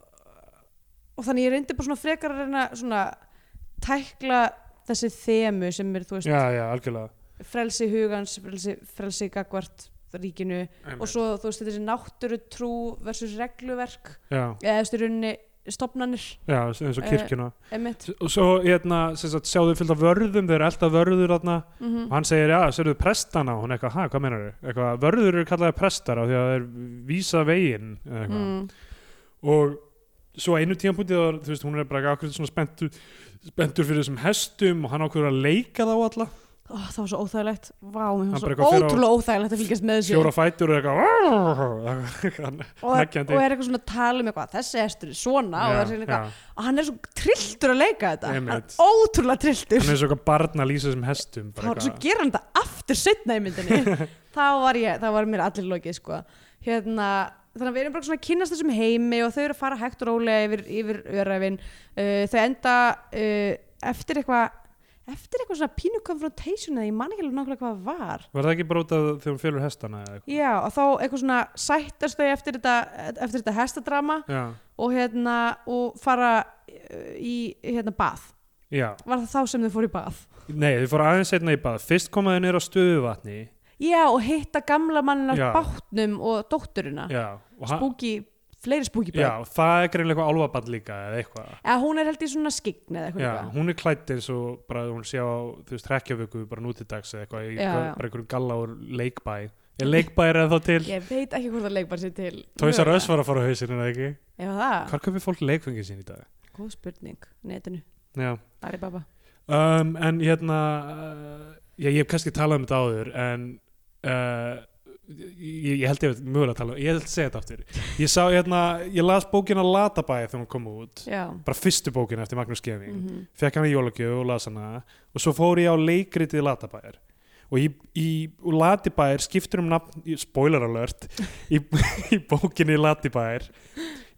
og þannig ég reyndi bara svona frekar að reyna svona tækla þessi þemu sem er þú veist Já, já, algjörlega. frelsi hugans, frelsi, frelsi gagvart ríkinu og svo þú veist þessi náttúru trú versus regluverk Já. eða þessi rauninni stopnanir Já, eins og Eh, kirkjuna emitt og svo hérna, sem sagt, sjáðu fyllt af vörðum þeir eru elda vörður þarna mm og hann segir, já, sérðu prestana og hún eitthvað, hæ, hvað meinar þau? Eitthvað, vörður eru kallaði prestar af því að þeir vísa veginn eða eitthvað. Mm. og svo á einu tíðanpunti þá, þú veist, hún er bara akkur svona spenntur, spenntur fyrir þessum hestum og hann ákveður að leika þá alla Ó, það var svo óþægilegt Vá, mér Hann fannst bara svo eitthvað fer á- ótrúlega óþægilegt að fylgjast með þessu fjóra fætur og eitthvað og, og er leggjandi. eitthvað svona að tala um eitthvað þessi hestur er svona og, það er já, eitthvað, og hann er svo trilltur að leika þetta hann Einmitt. er ótrúlega trilltur hann er svo eitthvað barn að lýsa þessum hestum þá er svo gera hann þetta aftur setna í myndinni þá var ég, þá var mér allir lokið sko hérna Þannig að við erum bara svona að kynnast þessum heimi og þau eru að fara hægt og rólega yfir, yfir öræfin. Uh, þau enda uh, eftir eitthvað, eftir eitthvað svona pínu confrontation eða ég man ekki alveg nákvæmlega hvað það var. var það ekki bara út af þegar hún félur hestana eða eitthvað? Já, og þá eitthvað svona sættast þau eftir þetta, eftir þetta hestadrama Já, og, hérna, og fara eh, í hérna, bað. já, Var það þá sem þau fóru í bað? Nei, þau fóru aðeins einna í bað. Fyrst komaðu niður á stöðuvatni. Já, og hitta gamla mannin Já. á bátnum og dótturina. Já, og hann- Spúki, fleiri spúki já, börn. það er greinlega eitthvað álfabann líka eða eitthvað. Eða hún er held í svona skikn eða eitthvað. Já, líka. hún er klætt eins og bara hún sé á, þú veist, rekjavöku bara nútidags eða eitthvað, í Já, eitthvað- já. bara einhverjum galla úr leikbæ. Er leikbæ er það til? Ég veit ekki hvort það leikbar sér til. Tóisa Röss var að fara á hausinn, er það ekki? Já, það. Hvar köpir fólk leikfengið sín í dag? Góð spurning. Netinu. Já, Alibaba. um, en hérna, uh, já, ég hef kannski talað um þetta áður, en uh, ég, ég held ég hef mögulega að tala um, ég held að segja þetta aftur. Ég sá, hérna, ég las bókina Latabæ þegar hún kom út. Já. bara fyrstu bókina eftir Magnús Geving Mm -hmm. fekk hann í jólagjöf og las hana og svo fór ég á leikritið Latabæjar og í, í og Latibæjar skiptur um nafn, í- spoiler alert í, í bókinni Latibæjar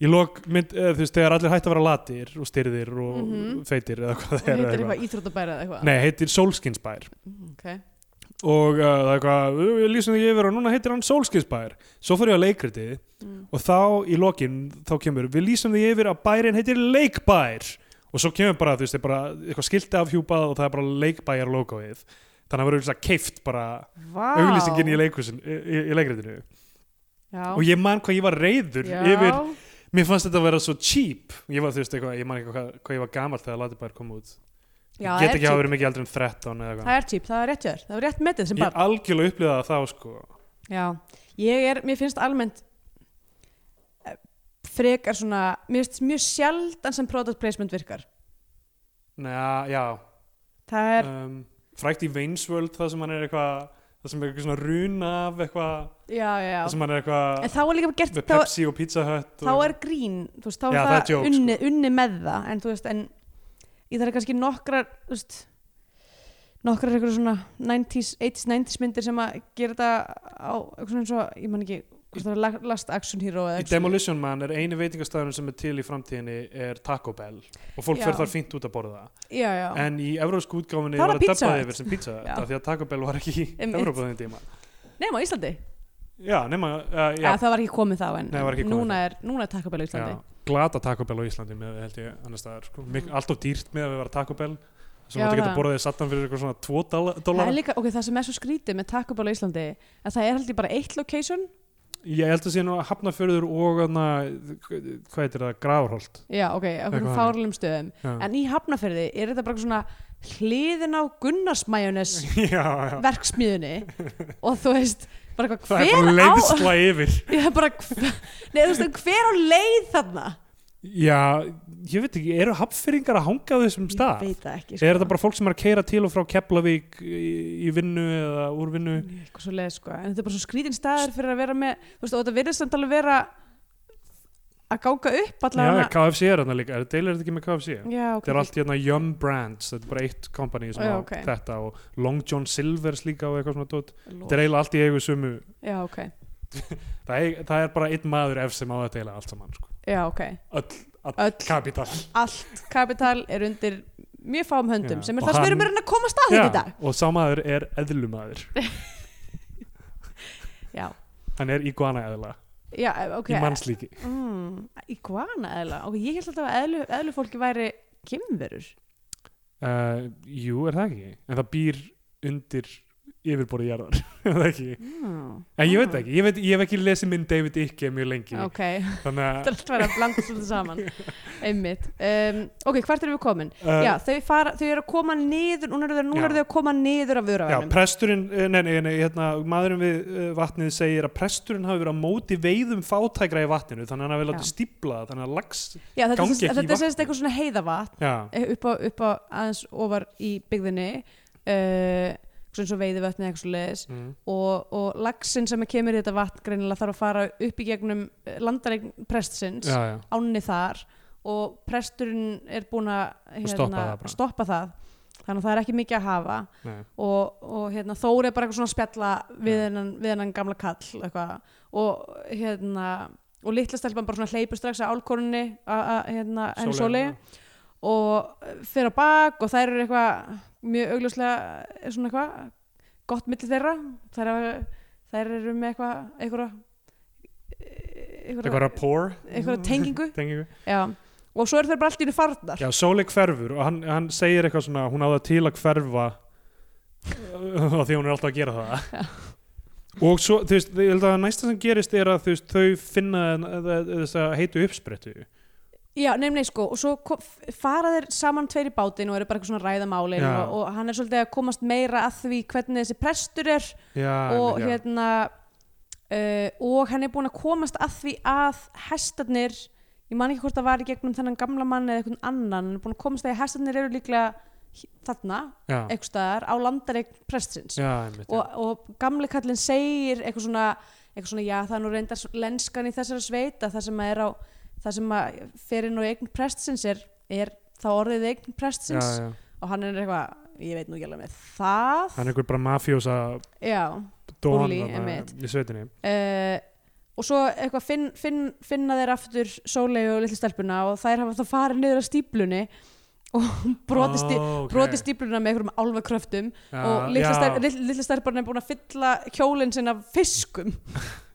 í lok mynd, eða, þú veist, þegar allir hætti að vera latir og styrðir og Mhm. feitir eða hvað Og það er heitir eða eitthvað íþróttabæra eða eitthvað. Nei, heitir Solskinsbær Mm, Okay. og uh, það er eitthvað, "Uh, við lýsum því yfir og núna heitir hann Solskinsbær svo fyrir ég að leikritið Mm. og þá í lokin, þá kemur við lýsum því yfir að bærin heitir Leikbær og svo kemur bara, þú veist, er bara eitthvað skilti afhjúpað og það er bara Leikbæjar logoið þannig að það verður eitthvað keift bara Vá. auglýsingin í, leikhúsin- í, í, í leikritinu Já. og ég man hvað ég var reyður Já. yfir Mér fannst þetta að vera svo cheap Ég var, þú veist, eitthvað, ég man ekki hvað, hvað ég var gamall þegar Latibær kom út Ég Já, það get er ekki hafa cheap. verið mikið aldrei en 13 eða Það eitthvað er típ, það er rétt hjá þér, það er rétt metið sem Ég barn. algjörlega upplýða það þá, sko Já, ég er, mér finnst almennt eh, frekar svona, mér finnst mjög sjaldan sem product placement virkar. Næja, já Það er, um, Frækt í Veinsvöld, það sem hann er eitthvað Það sem er eitthvað svona runa af eitthvað já, já, Það já. sem hann er En eitthvað þá er líka gert, Með þá, Pepsi og Pizza Hut þá og, er grín, þú veist, þá Já, er það það, er sko. joke, unni, unni með það, en þú veist, en ég þarf kannski nokkrar, þú veist, nokkrar eitthvað svona 90s, 80s, 90s myndir sem að gera þetta á, eitthvað svona eins og, ég man ekki, hvort það er la- Last Action Hero eða Í eitthvað. Demolition Man er eini veitingastæðurinn sem er til í framtíðinni er Taco Bell og fólk Já. fer þar fínt út að borða Já, já. en í evrósku útgáfinni Þá var var það að Pizza dabbaði Hut. yfir sem pizza Hut Já. af því að Taco Bell var ekki í Einmitt. Evrópa þenni tíma Nefn á Íslandi. Já, nema, uh, já, Já, það var ekki komið þá en, Nei, það var ekki en komið núna, er, núna er Taco Bell á Íslandi Já, glata Taco Bell á Íslandi með, held ég, annars staðar, sko, mik- alltaf dýrt með að vera Taco Bell sem Mm. Já, þetta geta það. borðið sattan fyrir eitthvað svona 2 doll- Það er dollara líka, ok, það sem er svo skrítið með Taco Bell á Íslandi að það er held ég bara eitt location ég held að sé nú að Hafnafjörður og hana, hvað heitir það, Grafarholt Já, ok, okkur Eitthvað fárlum stöðum já. En í Hafnafyrði er þetta bara svona hliðin á Gunnarsmæjunes já, já, verksmiðunni og þú veist, bara eitthvað það hver er bara á leiðsla yfir Ég er bara, hver, nei, þú veist, hver á leið þarna? já, ég veit ekki, eru hafnfyrringar að hanga á þessum Ég stað? veit það ekki sko. Er þetta bara fólk sem er að keira til og frá Keflavík í, í vinnu eða úr vinnu? eitthvað svo leið sko en þetta er bara svo skrítin staður fyrir að vera með þú veist og þetta virðist samt alveg vera að ganga upp Já, allavega KFC er þarna líka, er deilir þetta ekki með KFC? já, ok, Þetta er allt hérna Yum Brands, þetta er bara eitt company sem Já, á ok. þetta þetta og Long John Silvers líka og eitthvað svona dót. Þetta allt er eiginlega allt í eigu sumu. já, ok, Það er, það er bara einn maður ef sem á þetta eiginlega allt saman, sko. já, ok Öll, all, Öll. kapital. allt kapital er undir mjög fáum höndum Já, sem er og það sem við hann- erum að reyna að komast að þetta hérna í dag og sá maður er eðlumadur. já, Hann er iguana eðla, já, eh, ok í mannslíki. mm, iguana eðla, ok, ég held alltaf að eðlu, eðlu fólki væri kimverur Uh, jú, er það ekki? En það býr undir yfirborði jarðar, er það ekki? mm, En ég veit það ekki, ég, veit, ég hef ekki lesið minn David Icke mjög lengi, ok, þannig þetta að... er allt verið að blanda svolítið saman einmitt, um, ok, hvert erum við komin? Uh, Já, þau, fara, þau eru að koma niður, núna eru þau, núna Já. eru þau að koma niður af Já, vöruafnum. presturinn, eh, nei, nei, nei, hérna, maðurinn við eh, vatnið segir að presturinn hafi verið á móti veiðum fátækra í vatninu, þannig að hann hafi Já. látið stípla, þannig að lags, Já, þetta gangi er sem- ekki í þetta er semst eitthvað svona heiðavatn já, eh, upp á, upp á aðeins ofar í byggðinni, uh, svona eins og veiðivötni eða eitthvað svo leiðis mm. og, og laxinn sem kemur í þetta vatn greinilega þarf að fara upp í gegnum landaregn prestsins, já, já, ánni þar og presturinn er búin að hérna, stoppa það bara. stoppa það. Þannig að það er ekki mikið að hafa. nei, og, og hérna, Þóri er bara eitthvað svona að spjalla við hennan, við hennan gamla kall eitthvað. og hérna og litla stelpan bara svona hleypur strax að álkorunni að að, hérna, henni Sóli Sóley, og eh, fer á bak og þær eru eitthvað mjög augljóslega eh, svona eitthvað gott milli þeirra þær, hafa- þær eru með eitthvað eitthvað eh, eitthvað rapport, Mm. eitthvað tengingu tengingu, já. og svo eru þær bara allt í henni farnar já, Sóli hverfur og hann, hann segir eitthvað svona, hún á það til að hverfa og því hún er alltaf að gera það og svo, þú veist, ég held að næsta sem gerist er að þú veist, þau finna þess að heitu uppsprettu Já, nei, nei, sko, og svo ko- f- fara þeir saman tveir í bátinn og eru bara eitthvað svona að ræða málin Já. og, og hann er svolítið að komast meira að því hvernig þessi prestur er já, og já. hérna uh, og hann er búin að komast að því að hestarnir ég man ekki hvort það var í gegnum þennan gamla mann eða eitthvað annan, hann er búin að komast að því að hestarnir eru líklega hi- þarna, já, eitthvað staðar á landareign prestsins já, einmitt, já. og, og gamli kallinn segir eitthvað svona, eitthvað svona já það er nú reyndar s- lenskan í þessara sveita það sem að er á það sem að fyrir nú eign prestsins er, er þá orðið eign prestsins já, já. og hann er eitthvað ég veit nú ekki alveg með það hann er einhver bara mafjósa já don Bully, þarna einmitt. í sveitinni uh, og svo eitthvað finn, finn, finna þeir aftur sólegu og litli stelpuna og þær hafa þá farið niður að stíplunni brotið sti- Ó, Ah, ok. brotið stípluna með einhverjum álfakröftum Já, og litla já. stelp- lill- litla stelparinn er búin að fylla kjólinn sinn af fiskum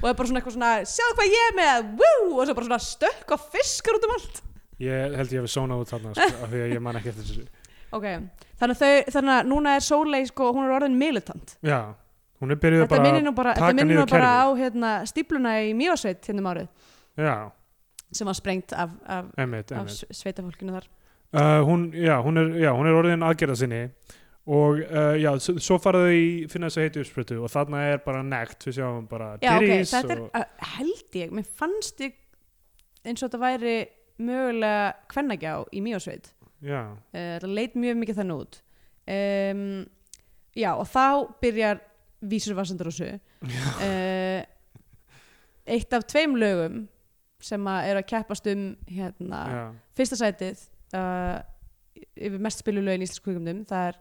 og er bara svona eitthvað svona sjáðu hvað ég er með, woo og svo bara svona stökkva fiskar út um allt Ég held ég hefði sónað út þarna sko, af því að ég man ekki eftir þessu ok, þannig að, þau, þannig að núna er Sólei sko, hún er orðin militant Já, hún er byrjuð þetta bara minnir nú bara, taka þetta minnir nú niður bara á hérna, stípluna í Mjósveit hérna um árið Já, sem var sprengt af, af, einmitt, af einmitt sveitafólkinu þar uh, hún, já, hún er, já, hún er orðin aðgerða sinni og uh, já, s- svo faraðu í finna þess að heiti uppsprutu og þarna er bara nekt, við sjáum bara já, ok, Dyrís þetta er, og, uh, held ég mér fannst ég eins og þetta væri mögulega kvennagjá í Mjósveit Já, uh, það leit mjög mikið þannig út um, já og þá byrjar Vísur Vassandrósu uh, eitt af tveim lögum sem að eru að keppast um hérna, já, fyrsta sætið uh, yfir mest spilu lögin í íslensku kvikumdum það er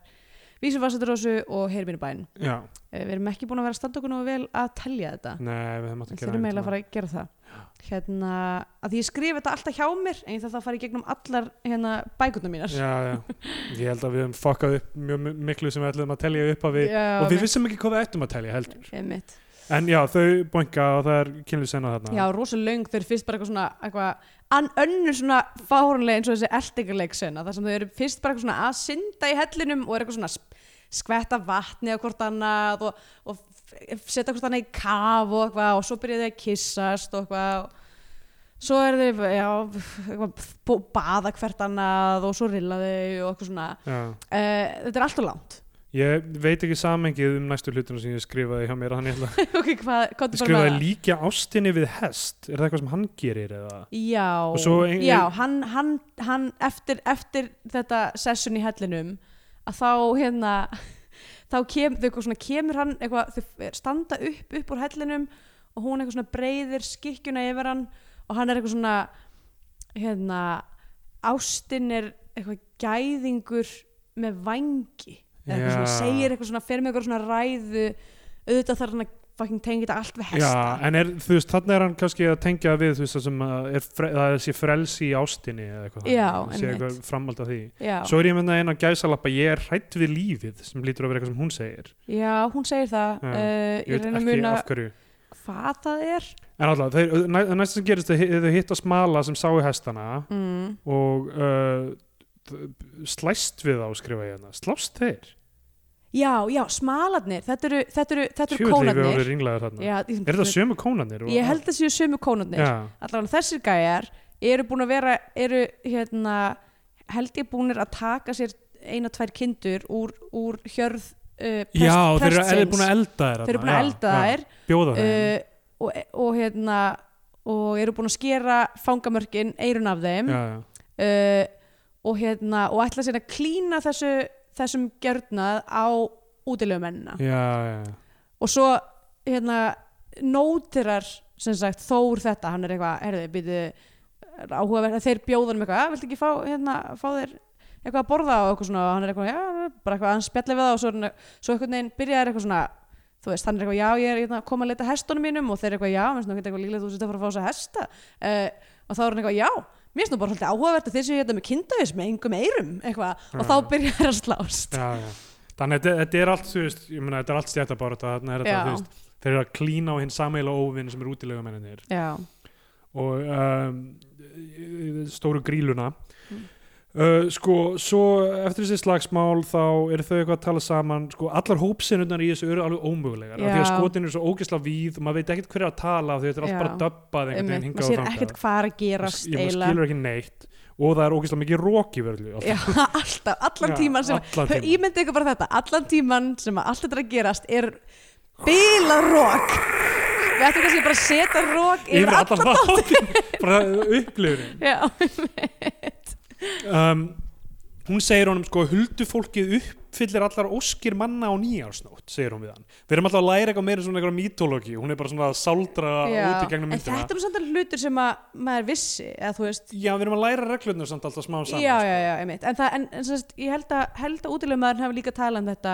Vísur Vassandrósu og Heyrminu bæn uh, já við erum ekki búin að vera að standa okkur nú vel að telja þetta Nei, við höfum átt að Þeir gera eru meila að einhvern fara að gera það hérna, að því ég skrifa þetta alltaf hjá mér en ég þarf það að fara í gegnum allar hérna, bækundum mínar Já, já, ég held að við höfum fokkað upp mjög mi- miklu sem við ætlum að telja upp að við Já, og við ok. vissum ekki hvað við ættum að telja heldur Einmitt. En já, þau boinka og það er kynlýf senna þarna Já, rosa löng, þau eru fyrst bara eitthvað svona eitthvað, an, önnur svona fárunlega eins og þessi eldingarleiksena, þar sem þau eru fyrst bara eitthvað svona að synda í hellinum og eru eitthvað svona sp- skvetta vatni á hvort annað og, og f- setja hvort annað í kaf og eitthvað og svo byrja þau að kyssast og eitthvað og svo eru þau, já, eitthvað, b- baða hvert annað og svo rilla þau og eitthvað svona Já. uh, Þetta er allt og langt Ég veit ekki samengið um næstu hlutuna sem ég skrifaði hjá mér hann ég ætla að Ok, hvað, hvað ég er bara með skrifaði það? líkja ástinni við hest Er það eitthvað sem hann gerir eða? Já, Og svo ein- já hann, hann, hann eftir, eftir þetta sessun í hellinum að þá hérna þá kem, þau eitthvað svona, kemur hann eitthvað, þau standa upp upp úr hellinum og hún eitthvað svona breyðir skikkjuna yfir hann og hann er eitthvað svona hérna ástinn er eitthvað gæðingur með vangi eða eitthvað svona, Já. segir eitthvað svona, fer með eitthvað svona ræðu auðvitað þarf hann að fucking tengja þetta allt við Já, hesta en er, þú veist, þarna er hann kannski að tengja við þú veist það sem að er, fre- það er sér frelsi í ástinni eða eitthvað Já, þannig, sé einmitt. eitthvað framhald af því Já. Svo er ég með það einn að gæsalappa ég er hrætt við lífið sem lítur að vera eitthvað sem hún segir Já, hún segir það Já, uh, Ég, Ég veit reyna að ekki muna af hverju hvað það er En alltaf, þeir, næ, næst sem gerist þau hi- þau hitta smala sem sáu hestana mm. og uh, d- slæst við þá skrifa ég hérna slást þeir, Já, já, smalarnir Þetta eru, þetta eru, þetta eru tjóðlega við kónarnir vorum ringlaðir þarna já, ég, hérna. er það sömu kónarnir? og- Ég held það séu sömu kónarnir já, Allavega þessir gæjar eru búin að vera eru, hérna, held ég búinir að taka sér eina, tvær kindur úr, úr hjörð uh, prest, já þeir eru prestsins. er búin að elda þær Þeir eru búin að elda þær þær bjóða þær uh, og, og hérna og eru búin að skera fangamörkin eirun af þeim já, já. uh, og hérna og ætla sér að klína þessu, þessum gjörnað á útilegu mennina já, já, og svo hérna nótirar sem sagt Þór þetta, hann er eitthvað, herði, býtu áhugaverð, þeir bjóðanum eitthvað "Ah, viltu ekki fá, hérna, fá þér eitthvað að borða og eitthvað svona, og hann er eitthvað, já, bara eitthvað hann spjalli við það og svo, er hann- svo eitthvað neginn byrjaði eitthvað svona, þú veist, hann er eitthvað, já, ég er hérna, kom að leita hestunum mínum og þeir eru eitthvað, já, minnst nú ekki eitthvað líklega þú sétt að fara að fá þess að hesta uh, og þá er hann eitthvað, já, mér finnst nú bara svolítið áhugavert að þeir séu hérna með kindavis með engum eirum, eitthvað, og Ah. þá byrjar þeir að slást. já, já. þannig að þetta- þetta er allt þú veist, ég meina þetta er allt stjættabárata þarna er þetta, Já. þú veist, þeir eru að klína á hinn sammeila óvinn sem eru útilega menninir Já. og um, stóru gríluna Mm. uh, sko, svo eftir þessi slagsmál þá eru þau eitthvað að tala saman sko, allar hópsinnurnar í þessu eru alveg ómögulegar af því að Já. skotin eru svo ógisla víð og maður veit ekkert hverja að tala af því þetta er allt Já. bara döbbað einhvern veginn einmitt, hingað maður sér og ekkert þangað hvað er að Maður gerast s- ég- maður eiginlega. skilur ekki neitt og það er ógisla mikið rók í vörlu Já, alltaf, allan tíman sem allan Hör, tímann. Ímyndi ykkur bara þetta, allan tíman sem að allt þetta er að gerast er bílarokk Við ættum kannski bara að setja rokk yfir yfir allan allan þáttin bara upplifurinn Já, um, hún segir honum sko huldufólkið uppfyllir allar óskir manna á nýjársnótt segir hún við hann við erum alltaf að læra eitthvað meira svona eitthvað mítológi hún er bara svona að sáldra út í já. gegnum En myndina þetta er nú samt alveg hlutur sem að maður vissi eða þú veist já við erum að læra reglurnar samt alltaf smá saman já, sko. já, já, einmitt En, það, en, en sérst, ég held að, held að útilegumæðurinn hafi líka talað um þetta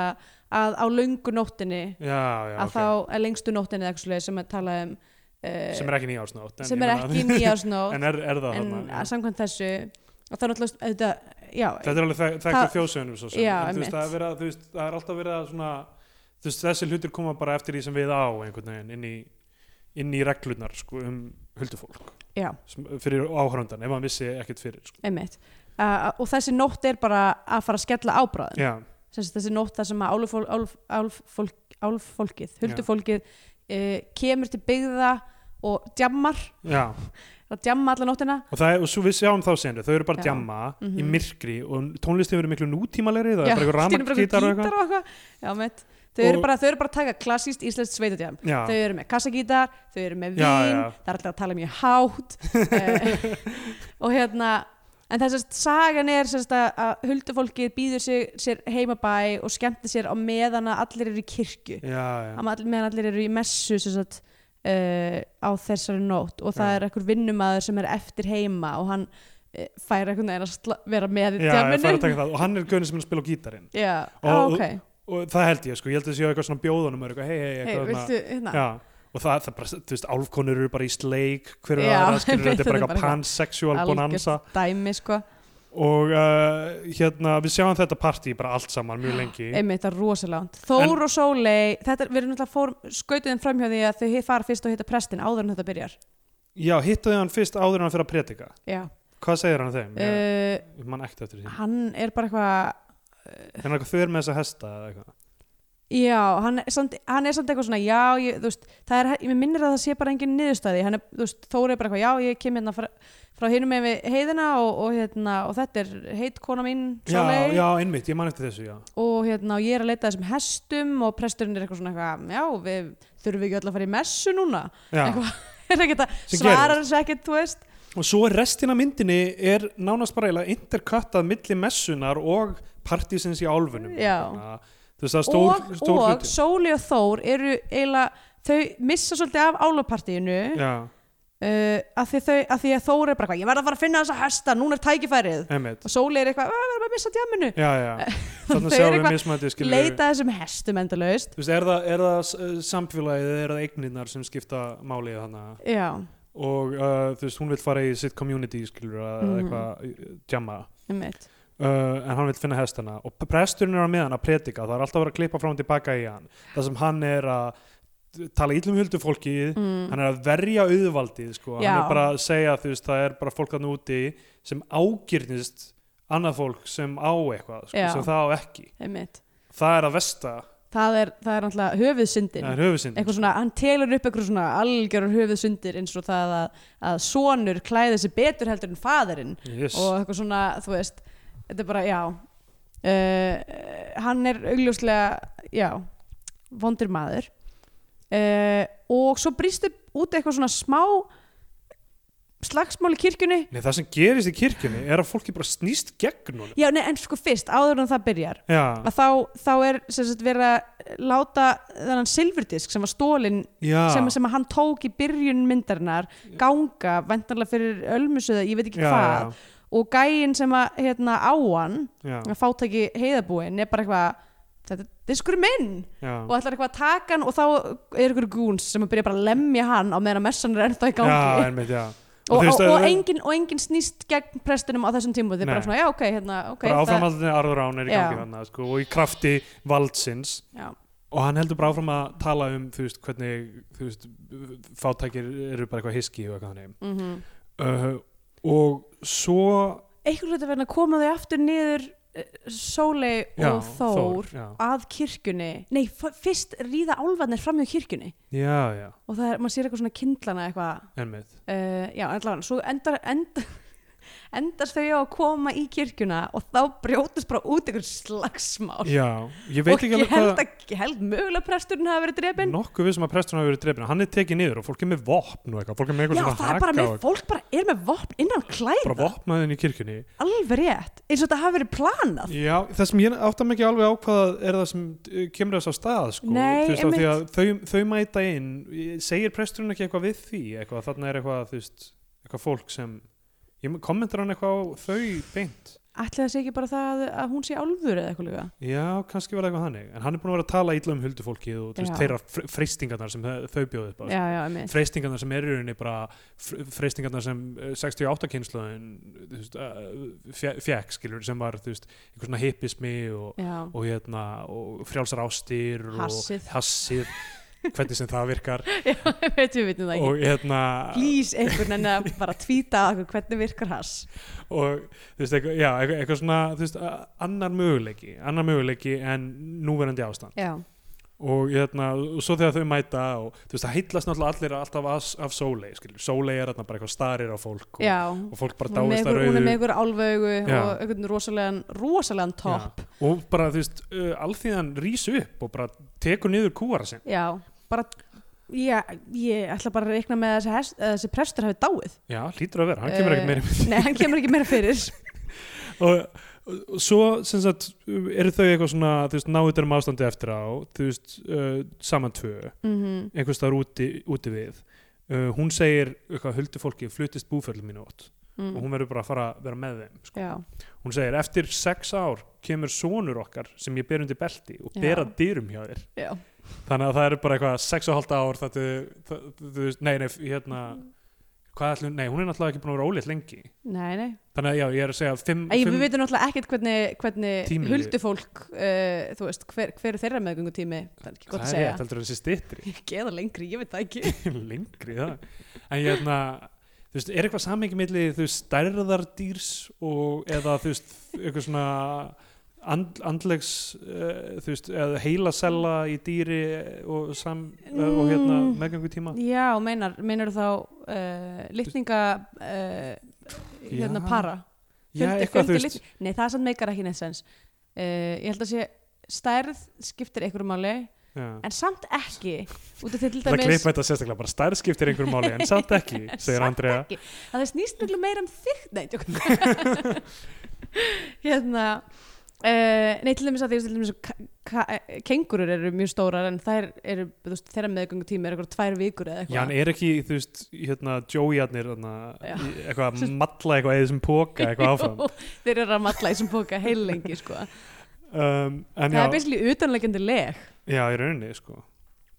að á löngu nóttinni já, já, að ok. þá er lengstu nóttinni eða eitthvað svoleiðis sem að tala um uh, sem er ekki nýjársnótt en sem ég er meina- ekki nýjársnótt en er, er það en þarna að samkvæmt þessu og það er náttúrulega auðvitað já, þetta er alveg þek- þekkt Það- í þjóðsögunum svo sem Já, en, þú veist, einmitt. það, er verið, að- þú veist, það er alltaf verið að svona, þú veist, þessi hlutir koma bara eftir því sem við á einhvern veginn inn í, inn í reglurnar sko, um huldufólk já, sem, fyrir áhörundan ef maður vissi ekkert fyrir sko. einmitt uh, og þessi nótt er bara að fara að skella ábráðin já, Sem sagt, þessi nótt þar sem að álfól, álf, álfólk, álfólkið, huldufólkið uh, kemur til byggða og djammar, já það djamma alla nóttina og, það, er- og svo við sjáum þá senu, þau eru bara Já. að djamma Mhm. í myrkri og tónlistin verður miklu nútímalegri það Já, er bara allt í einu eitthvað bara einhver ramakgítar og eitthvað gítar og eitthvað já, mitt Þau eru, Og- bara, þau eru bara að taka klassíst íslenskt sveitadjám já, Þau eru með kassagítar, þau eru með vín Já, já. Það er alltaf að tala mjög hátt eh, Og hérna En þess að sagan er sem sagt, að- að huldufólkið býður sig, sér heimabæ og skemmti sér á meðan að allir eru í kirkju já, já, Að all- meðan allir eru í messu sem sagt, uh, á þessari nótt og það Já. er einhver vinnumaður sem er eftir heima og hann uh, fær einhvern veginn að sla- vera með í já, ég fara að djáminu taka það og hann er gaunin sem er að spila á gítarinn Já, Og- á, og- ok og það held ég, sko, ég held að það séu eitthvað svona bjóðunum eitthvað, hei, hei, Hei, eitthvað þarna- viltu, hérna Já, og það, það bara, þú veist, álfkonur eru bara í sleik hverju Já, aðra, skilur einmitt, þetta er bara þetta er bara eitthvað pansexual algjört bonanza dæmi sko og uh, hérna, við sjáum þetta partí bara allt saman mjög lengi einmitt það er rosalangt Þór og Sólei, þetta, er- við erum náttúrulega fór, skautuðum framhjá því að þau hi- fara fyrst og hitta prestin áður en þetta byrjar Já, hittuðu hann fyrst áður en hann fyrir að predika já. Hvað segir hann þeim? Ég, Uh, ég man ekkert eftir því hann er bara eitthvað Er hann eitthvað þau með þessa hesta eða eitthvað? já, hann er, samt, hann er samt eitthvað svona já, ég, þú veist, það er, ég minnir að það sé bara engin niðurstaði, hann er, þú veist, Þór er bara eitthvað já, ég kem hérna frá, frá hinum með heiðina og, og hérna, og þetta er heit kona mín, Sólei Já, já, einmitt, ég man eftir þessu, já og hérna, og ég er að leita að þessum hestum og presturinn er eitthvað svona eitthvað, já, við þurfum við ekki öll að fara í messu núna Já, Eitthvað. er ekkert að Sem svara gerist. þessu ekkert, þú veist og svo er restina af myndinni er nánast bara eiginlega interkattað milli messunar og partísins í álfunum Já. Þú veist, það er stór, og, stór og hluti. Sóli og Þór eru eiginlega, þau missa svolítið af álapartíinu uh, Já, af, því þau, af því að Þór er bara eitthvað, ég verð að fara að finna þessa hesta, núna er tækifærið einmitt og Sóli er eitthvað, að verðum að missa djáminu Já, já, Þau þannig eru sjáum við eitthvað mismæti skilur við. leita að þessum hestum endalaust Þú veist, er það, er það s- eh, samfélagið eða er það eignirnar sem skipta málið hana já, og uh, þú veist, hún vil fara í sitt community skilur að Mhm. eitthvað uh, djamma einmitt uh, en hann vil finna hestana og p- presturinn er á meðan að predika það er alltaf að vera að klippa fram og tilbaka í hann það sem hann er að tala illum huldufólkið mm. hann er að verja auðvaldið sko. hann Já. er bara að segja þú veist, það er bara fólk hann úti sem ágirnist annað fólk sem á eitthvað sko, Já. sem það á ekki einmitt það er að vesta, það er, það er náttúrulega höfuðsyndin það er höfusinn eitthvað svona, hann telur upp eitthvað svona algjörur höfuðsundir eins og það að, að sonur klæði sig betur heldur en faðirinn yes. og eitthvað svona, þú veist þetta er bara, já uh, hann er augljóslega já, vondur maður uh, og svo brýst upp út eitthvað svona smá slagsmál í kirkjunni Nei, það sem gerist í kirkjunni er að fólki bara snýst gegn honum. já, nei, en sko fyrst, áður en það byrjar Já, að þá, þá er sem sagt verið að láta þennan silfurdisk sem var stólinn já, sem, sem að hann tók í byrjun myndarinnar ganga, vendarlega fyrir ölmusuða, ég veit ekki já, hvað og gæinn sem að hérna, á hann já, já, að fátæki heiðabúin er bara eitthvað þetta er diskur minn já. og ætlar eitthvað að taka hann og þá er ykkur gúns sem að byrja bara að lemja hann á meðan að messan er ennþá í Já, gangi einmitt, já. og, þú og, veist, og, það- engin, og engin snýst gegn prestunum á þessum tíma þið er bara Nei. svona, já ok, hérna, ok bara það- áframhaldinni arðurán er í gangi Já. hann sko, og í krafti valdsins já, og hann heldur bara áfram að tala um þú veist hvernig þú veist, fátækir eru bara eitthvað hiski og eitthvað hann mm -hmm. uh, og svo einhvern veit að verða að koma þau aftur niður Sólei já, og Þór já. að kirkjunni nei, f- fyrst ríða álfarnir fram hjá kirkjunni já, já, og það er, maður sér eitthvað svona kindlana eitthvað, einmitt uh, já, allavega svo endar, endar endast þau á að koma í kirkjuna og þá brjótast bara út einhver slagsmál já, ég veit og ekki ég alveg held, hvað að, ég held mögulega presturinn hafa verið drefin nokkuð við sem að presturinn hafi verið drefin hann er tekið niður og fólk er með vopn og eitthvað fólk er með já, eitthvað það svona er bara haka og með, eitthvað, fólk bara er með vopn innan klæða, bara vopnaðin í kirkjunni alveg rétt eins og þetta hafi verið planað Já, það sem ég átta mig ekki alveg á hvað er það sem eh, kemur þess á stað sko. Nei, Þú veist, af því að þau, þau mæta inn segir presturinn ekki eitthvað við því eitthvað, þarna er eitthvað, þú veist, eitthvað fólk sem ég, kommentar hann eitthvað á þau beint ætli það sé ekki bara það að, að hún sé álfur eða eitthvað líka Já, kannski var það eitthvað þannig. En hann er búin að vera að tala illa um huldufólkið og þú veist, Já. þeirra fre- freistingarnar sem þau þau bjóðu upp á. já, já, einmitt. Freistingarnar sem er í rauninni bara fre- freistingarnar sem eh, 68 kynsluðin uh, fjekk, skilur, sem var, þú veist, einhver svona hippismi og, já, og, hérna, og frjálsar ástir Hassið. og hassið, hvernig sem það virkar. já, veit við vitum það ekki og hérna... please, einhvern veginn að bara tvíta okkur hvernig virkar hass og þú veist, eitthvað, já, eitthvað, eitthvað svona þú veist, a- annar möguleiki annar möguleiki en núverandi ástand já, og, hérna, og svo þegar þau mæta og þú veist, það heitlast náttúrulega allir alltaf af, af sólei, skilur, sólei er þarna bara eitthvað starir á fólk og, já og fólk bara Hún er með dáist að einhver- hún er með rauðu einhver álfaugu Já. og einhvern rosalegan, rosalegan topp já. og bara, þú veist, uh, alþýðan rís upp og bara tekur niður kúara sinn bara já, ég ætla bara að reikna með að þessi, hest, að þessi prestur hafi dáið já, hlýtur að vera, hann kemur Eh, ekki meira nei, hann kemur ekki meira fyrir og, og, og svo sem sagt, eru þau eitthvað svona þú veist, náður um ástandi eftir á þú veist, uh, saman tvö mm einhvers staðar úti, úti við uh, hún segir, eitthvað, huldu fólki fluttist búföllum mínu átt og mm. hún verður bara að fara að vera með þeim sko. já, hún segir, eftir sex ár kemur sonur okkar sem ég ber undir belti og Já. ber að dyrum hjá þér já, þannig að það eru bara eitthvað sex og halda ár það, það, það, það, nei, nei, hérna hvað ætlum, nei, hún er náttúrulega ekki búin að vera ólétt lengi nei, nei þannig að já, ég er að segja fimm, Æ, fimm við veitum náttúrulega ekkert hvernig, hvernig Tíminn líður. huldufólk, uh, þú veist, hver, hver er þeirra meðgöngutími, það er ekki gott það að er segja. rétt, heldur þessi styttri Ekki eða lengri, ég veit það ekki. lengri það en ég hérna þú veist, er eitthvað samengi milli þú veist, stærðardýrs og eða þú veist, eitthvað svona and, andlegs uh, þú veist, eða heilasella í dýri og sam og hérna Mm. meðgangu tíma Já, meinar, meinar þá uh, litninga, uh, hérna, Já. para. já, eitthvað þú veist, litning- Nei, það er samt meikar ekki neitt sens. Uh, ég held að sé, stærð skiptir einhverju máli, já. en samt ekki, út af því til Það dæmis, klippa þetta sérstaklega, bara stærð skiptir einhverjum máli en samt ekki, segir Andrea að það snýst miklu meira um þig nei, tjók hérna uh, nei, til dæmis að því til dæmis, ka- ka- kengurur eru mjög stórar en þær eru, þú veist, þeirra meðgöngu tími er eitthvað tvær vikur eða Já, eitthvað hann er ekki, þú veist, hérna Joey-arnir, Já. eitthvað að malla eitthvað eða sem póka eitthvað áfram Jú, þeir eru að matla í sem bóka heil lengi sko. um, en það já, er basically utanlegjandi leg Já, í rauninni, sko.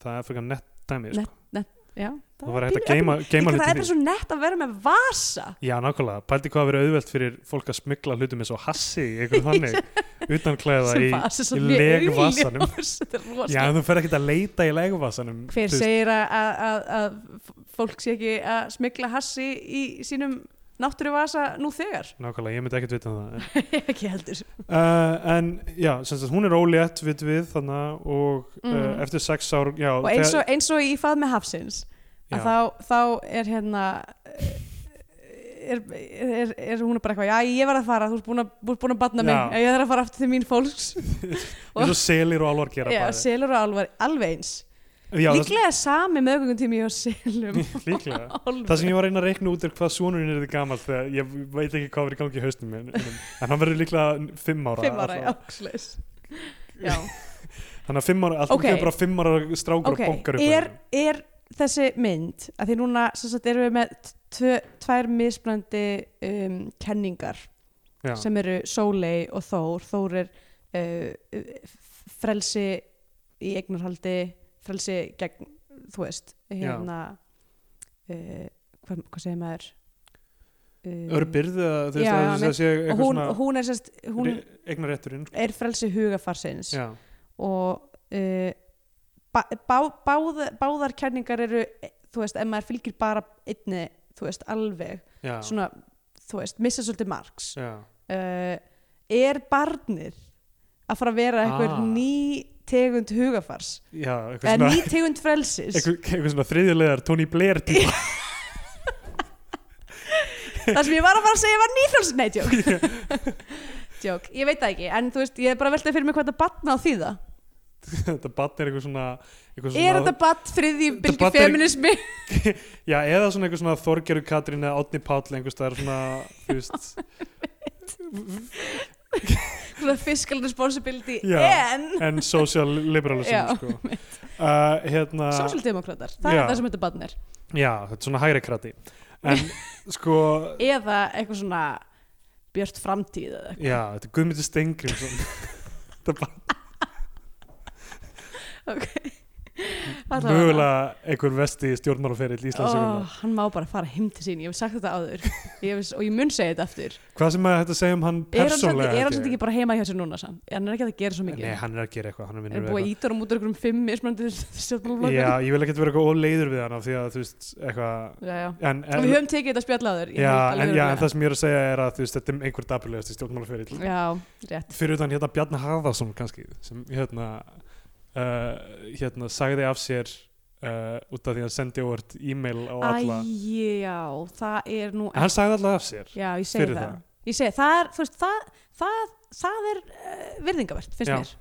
Það er fyrir nett dæmi, sko. Nett- já, það var hægt að geima, Líka, geima það er hluti bara svo nett að vera með vasa Já, nákvæmlega. Pældi hvað að vera auðvelt fyrir fólk að smygla hlutum eins og hassi í einhverju þannig, utan klæða sem í... vasa svo í mjög legvasanum. augljós. Þetta er Já, rosalegt. en þú fer ekkert að leita í legvasanum. Hver þú veist. segir að, að, að- að fólk sé ekki að smigla hassi í sínum náttúruvasa nú þegar? Nákvæmlega, ég myndi ekkert vita um það. En, ekki heldur. uh, en já, sem sagt, hún er ólétt við við þannig og uh, Mm. eftir sex ár, já... Og eins og, eins og í fað með hafsins, Já. að þá, þá er hérna, er, er, er hún bara eitthvað, já ég var að fara, þú ert búin að, þú ert búin að batna mig, Já. ég þarf að fara aftur til mín fólks. Eins og selir og alvar gera Já, bæði. selur og alvar, alveg eins. Já, það- Líklega sami meðgöngum tími hjá selum. Líklega. Álfur. Það sem ég var að reyna að reikna út er hvað sonurinn er þið gamall þegar ég veit ekki hvað verið í gangi í haustum minn en en hann verður líklega fimm ára Fimm ára, allavega. já, slags. Já. Þannig að fimm ára, alltaf Ok. okay. bara fimm ára strákur ok, og bonkar upp á er, þeim. er þessi mynd að því núna sem sagt, erum við með tvö, tvær mismunandi um, kenningar Já. sem eru Sólei og Þór Þór er uh, frelsi í eignarhaldi frelsi gegn þú veist, hérna uh, hvað, hvað segir maður uh, Örbirð, eða þú veist Já, að já, það sé og eitthvað Uh, hún, svona hún er sérst hún hún... eignar rétturinn er frelsi hugafarsins Já, og uh, bá, bá, báð, báðar kenningar eru eh, þú veist, ef maður fylgir bara einni, þú veist, alveg já, svona, þú veist, missa svolítið margs uh, já. er barnið að fara að vera einhver Ah. ný tegund hugafars já eitthvað eða svona, ný tegund frelsis eitthvað, eitthvað svona þriðjulegar Tony Blair tíma það sem ég var að fara að segja var ný frelsis nei, djók djók, ég veit það ekki en þú veist, ég er bara að velta fyrir mig hvað þetta batna á því það Þetta batt er eitthvað svona, eitthvað er svona þetta bat friði bylgi barn er- feminismi Já, eða svona eitthvað svona Þorgeru Katrín eða Átni Páll einhvers staðar svona, þú veist svona fiscal responsibility Já. en en social liberalism Já, sko. uh, hérna, Sósildemokrátar, það Já. er það sem þetta barn er já, þetta er svona hægri krati en sko eða eitthvað svona björt framtíð eða já, þetta er Guðmundur Steingrimsson þetta er bara eitthvað. mögulega einhver vesti stjórnmálaferill Íslandsögunar oh, hann má bara fara heim til sín ég hef sagt þetta áður ég hef, og ég mun segja þetta aftur hvað sem maður hægt að segja um hann Ah. er hann samt- persónlega er hann svolítið ekki bara heima hjá sér núna samt? hann er ekki að gera svo mikið nei, hann er að gera eitthvað, hann er er vinnur búið að íta hann út úr einhverjum fimm mismunandi stjórnmálaflokkum? já, ég vil ekkert vera eitthvað óleiður við hann af því að þú veist, eitthvað já, já. en, og við höfum tekið þetta spjallaður Já, en, já, en það sem ég er að segja er að þú veist, þetta er einhver dapurlegasti stjórnmálaferill já, rétt fyrir utan hérna Bjarni Harðarsson kannski sem hérna uh, hérna sagði af sér uh, út af því að hann sendi óvart e-mail á alla Æ, já, það er nú en hann sagði alla af sér Já, ég segi fyrir það. það. Ég segi það er, þú veist, það, það, það er uh, virðingavert, finnst Já, mér.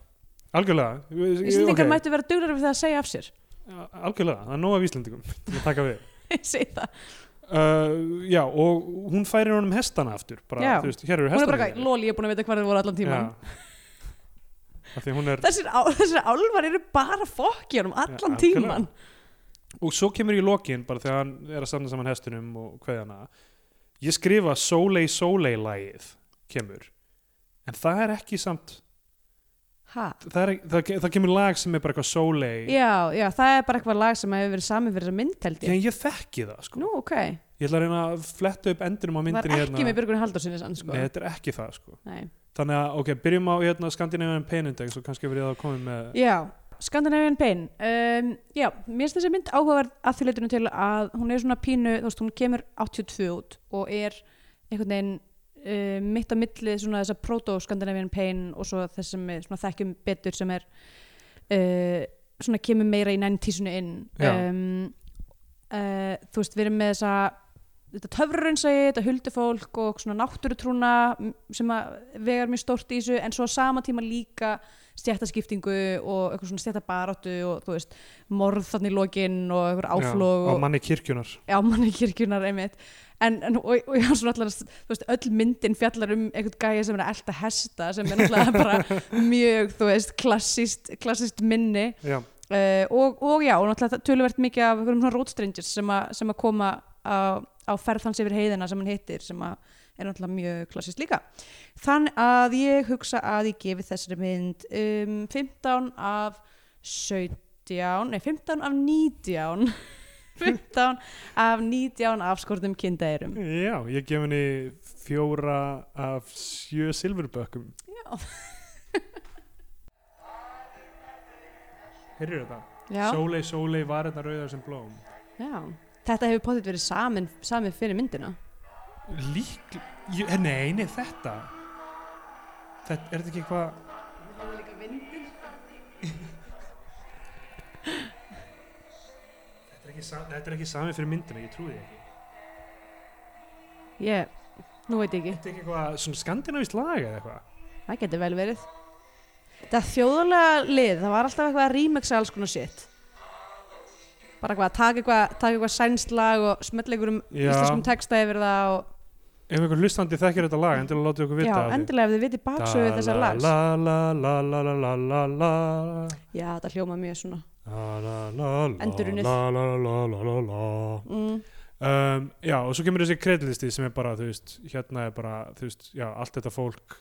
algjörlega Ég- ég- Íslendingar ok, mættu vera duglar við það að segja af sér. algjörlega, það er nóg af Íslendingum til að taka við ég segi það. uh, já, og hún færir honum hestana aftur bara, Já. þú veist, hér eru Hún er hestana bara, lól, ég er búin að vita hvað það voru allan tíman. af því hún er Þessir, á, þessir álvar eru bara fokkjánum allan algjörlega. tíman. og svo kemur í lokin bara þegar hann er að samna saman hestunum og hvað hana ég skrifa Sólei Sólei lagið kemur en það er ekki samt Ha? það, er, það, það kemur lag sem er bara eitthvað Sólei Já, já, það er bara eitthvað lag sem hefur verið samið fyrir þessa mynd, held ég. en ég þekki það sko Nú, ok. ég ætla að reyna að fletta upp endinum á Það er myndinni ekki hérna. með Björgun Haldursinni sann, sko. Nei, þetta er ekki það sko Nei. þannig að ok, byrjum á hérna, Skandinavian Pain Index og kannski verið það að koma með Já, Scandinavian Pain um, Já, mér finnst þessi mynd áhugaverð að því leitinu til að hún er svona pínu þú veist, hún kemur 82 út og er einhvern veginn uh, mitt á milli svona þessa proto-Scandinavian Pain og svo þess sem við svona þekkjum betur sem er uh, svona kemur meira í 90-sunu inn Já. um, uh, Þú veist, við erum með þessa þetta töfrurunnsægi, þetta huldufólk og svona náttúrutrúna m- sem að vegar mjög stórt í þessu en svo á sama tíma líka stjættaskiptingu og eitthvað svona stjættabaráttu og þú veist, morð þannig lokin og eitthvað áflóg Já, á og manni kirkjunar já, manni kirkjunar einmitt en, en og, og já, svona allar þú veist, öll myndin fjallar um einhvern gæja sem er að elta hesta sem er náttúrulega bara mjög, þú veist, klassist klassist minni já, uh, og, og já, og náttúrulega það- töluvert mikið af einhverjum svona road strangers sem, a, sem að koma á, á ferð hans yfir heiðina sem hann hittir sem að er náttúrulega mjög klassist líka þann að ég hugsa að ég gefi þessari mynd um, 15 af 17 nei 15 af 19 15 af 19 afskortum kindærum já ég gef henni fjóra af sjö silfurbökkum heyrðu þetta? já, Sólei, sólei, var þetta rauðar sem blóm? já þetta hefur potið verið samin, samin fyrir myndina Lík... Jú, eh, nei, nei, þetta. Þetta, er þetta ekki eitthvað... Þetta er ekki, sa- þetta er ekki sami fyrir myndina, ég trúi því ekki. ég, nú veit ég ekki Þetta er ekki eitthvað svona skandinavist lag eða eitthvað. Það getur vel verið. Það þjóðulega lið, það var alltaf eitthvað að remixa alls konar shit. Bara eitthvað, taka eitthvað, taka eitthvað sænslag og smella einhverjum Já. íslenskum texta yfir það og... Ef einhver hlustandi þekkir þetta lag, endilega láta okkur vita Já, af því. endilega ef þið vitið baksögu þessar lags. La la la la la la la la Já, þetta hljóma mjög svona. La, la, la, la, Endurunnið. la, la, la, la, la, la. Mm. Um, já, og svo kemur þessi kredlisti sem er bara, þú veist, hérna er bara, þú veist, já, allt þetta fólk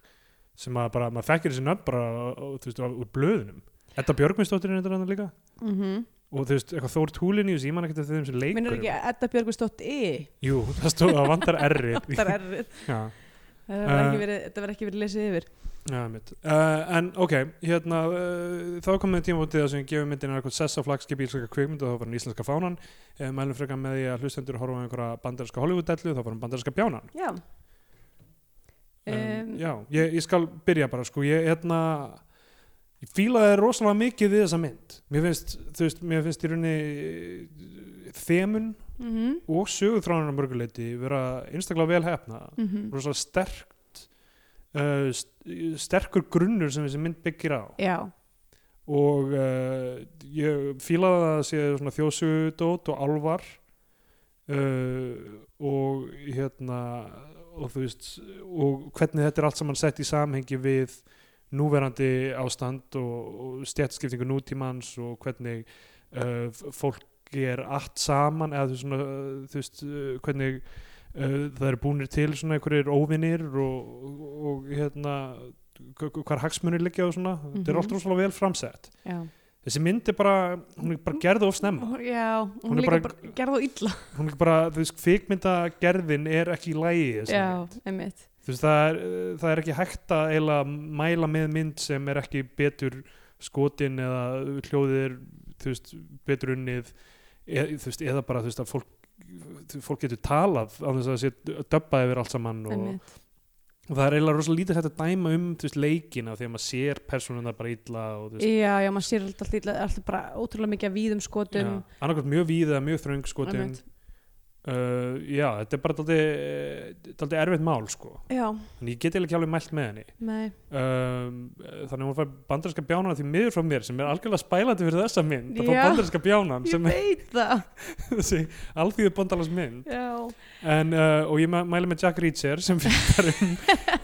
sem að bara, maður þekkir þessi nöfn bara, og, og, þú veist, af- úr blöðunum. Edda Björgvinsdóttir er þetta hann líka Mm -hmm. og þú veist, eitthvað Þór Túlinni, ég man ekkert eftir þeim sem leikur. Minnur ekki að Edda Björgvistótt í? Jú, það stóð, það vantar erri. Þetta er errið. Já, Það var Eh. ekki verið, þetta var ekki verið lesið yfir. já, mitt. Uh, en ok, hérna, uh, þá komum við tíma út í það sem gefum myndin er eitthvað sessa flagskipi í íslenska kvikmyndu og þá var hann íslenska fánan. Uh, mælum frekar með því að hlustendur horfa á einhverja bandarinska Hollywood-dellu, þá var hann bandarinska bjánan. Já. um, Um, já, ég, ég skal byrja bara sko, ég hérna ég fílaði rosalega mikið við þessa mynd mér finnst, þú veist, mér finnst í rauninni eh, þemun mhm, og sögutránunar mörguleiti vera einstaklega vel hefna mhm. rosalega sterkt uh, st sterkur grunnur sem þessi mynd byggir á Já, og uh, ég fílaði að það sé svona þjóðsugudót og alvar uh, og hérna og þú veist og hvernig þetta er allt saman sett í samhengi við núverandi ástand og, og stjættskiptingu nútímans og hvernig eh, uh, f- fólk er allt saman eða þú, veist, svona, uh, þú veist uh, hvernig uh, það eru búnir til svona einhverjir óvinir og, og, og hérna hva- hvar hagsmunir liggja og svona þetta er Mhm. alltaf svona vel framsett já, þessi mynd er bara, hún er bara gerð of snemma Ó, já hún, Hún er líka bara- bara, gerði á illa hún er bara, þú veist, kvikmyndagerðin er ekki í lægi þessi já, einmitt þú veist, það er, eh, það er ekki hægt að eiginlega mæla með mynd sem er ekki betur skotin eða hljóðið er, þú veist, betur unnið eða, þú veist, eða bara, þú veist, að fólk þú- fólk getur talað á þess að það sé döbbað yfir allt saman og, einmitt, og það er eiginlega rosalega lítið hægt að dæma um þú veist, leikina þegar maður sér persónuna bara illa og þú veist, já, já, maður sér alltaf illa alltaf bara ótrúlega mikið að víðum ja, skotum annarkvæmt mjög víð eða mjög þröng skotin einmitt. uh, já, þetta er bara daldið daldið erfitt mál sko já, en ég get eiginlega ekki alveg mælt með henni nei um, þannig að hún fær bandarinska bjánan því miður frá mér sem er algjörlega spælandi fyrir þessa mynd að fá Já. bandarinska bjánan ég sem er veit það þessi alþýðu bandalans mynd já, en, uh, og ég mæ- mæli með Jack Reacher sem fjallar um,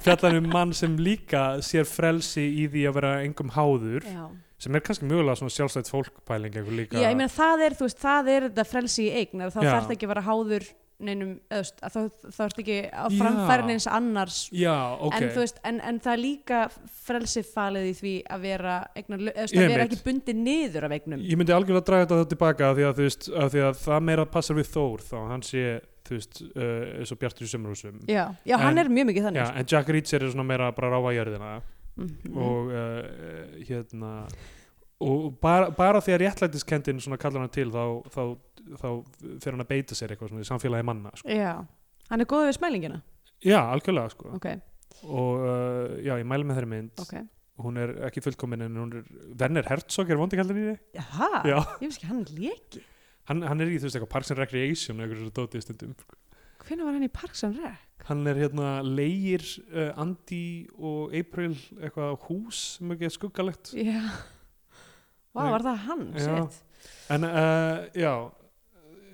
fjallar um mann sem líka sér frelsi í því að vera engum háður já. sem er kannski mjögulega svona sjálfstætt fólkpæling eitthvað líka ég meina það er, þú veist, það er þetta frelsi í eign að þá Já. þarf það ekki að vera háður neinum, eða, þú veist, að þá þarf það ekki að Já. framfæra neins annars já, ok en, þú veist, en, en það er líka frelsi falið í því að vera, eignar, eða, þú veist, Ég að vera veit. ekki bundið niður af eignum Ég myndi algjörlega draga þetta þá tilbaka af því, að, þú veist, af því að það meira passar við Þór þá hann sé, þú veist, uh, eins og Bjartur í sömurhúsum já, já hann En- er mjög mikið Já, þannig en Jack Reacher er svona meira bara að ráfa jörðina sko. og uh, hérna og bara, bara því að réttlætiskendin svona kallar hann til þá, þá, þá fer hann að beita sér eitthvað svona í samfélagi manna sko. já, hann er góð við smælingina Já, algjörlega sko ok, og uh, já, ég mæli með þeirri mynd ok hún er ekki fullkomin en hún er Werner Herzog er vondi kallar í því Jaha, Já. ég veist ekki, hann er leki hann, hann er í þú veist eitthvað Parks and Recreation og eitthvað svona dótið stundum hvenær var hann í Parks and Rec? hann er hérna leigir uh, Andy og April eitthvað hús sem ekki er skuggalegt já Vá, Nei. var það hann? Já. Shit. En uh, já,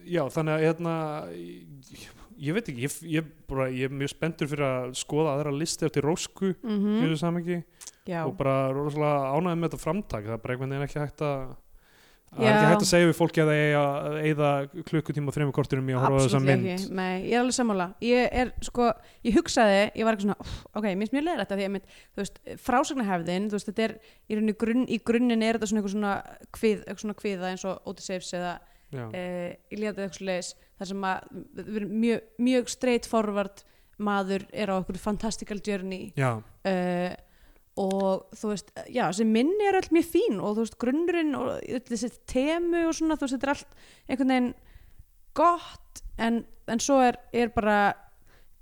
já, þannig að hérna, ég, ég veit ekki, ég, ég, bara, ég er mjög spenntur fyrir að skoða aðra listi eftir rósku mm. Mhm. fyrir samengi Já, og bara rosalega ánægði með þetta framtak, það er bara einhvern veginn ekki hægt að, það er Já. ekki hægt að segja við fólki að það eigi að eyða klukkutíma og þreymur korturum í að horfa á þessa Absolutt mynd. ekki, nei, ég er alveg sammála ég er sko, ég hugsaði, ég var eitthvað svona "Úff, ok, mér finnst mjög leiðrætt að því að mynd, þú veist, frásagnahefðin, þú veist, þetta er í, rauninni grunn, í grunninn er þetta svona eitthvað svona kvið, eitthvað svona kviða eins og Odysseus eða Já, e, Iliadið eitthvað leis þar sem að við erum mjög, mjög straight forward maður er á okkur fantastical journey já, uh, og þú veist, já, þessi minni er öll mjög fín og þú veist, grunnurinn og öll þessi temu og svona, þú veist, þetta er allt einhvern veginn gott en, en svo er, er bara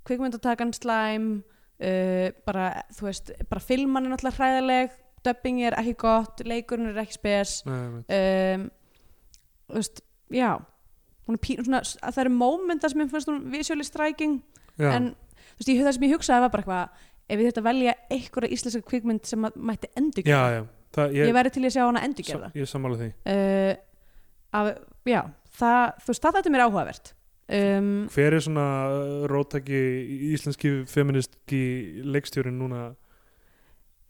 kvikmyndatakan slæm uh, bara, þú veist, bara filman er náttúrulega hræðileg, dubbing er ekki gott leikurinn er ekki spes nei, nei, um, þú veist, já hún er pín, svona, að það eru mómenta sem ég finnst hún visually striking já, en þú veist, ég, það sem ég hugsaði var bara eitthvað ef ég þurfti að velja einhverja íslenska kvikmynd sem að mætti já, endurgerða já, það, ég, ég, væri til í að sjá hana sam, endurgerða ég sammála því. uh, af, já, það, þú veist, það þetta er mér áhugavert um, Hver er svona uh, róttæki íslenski feministki leikstjórin núna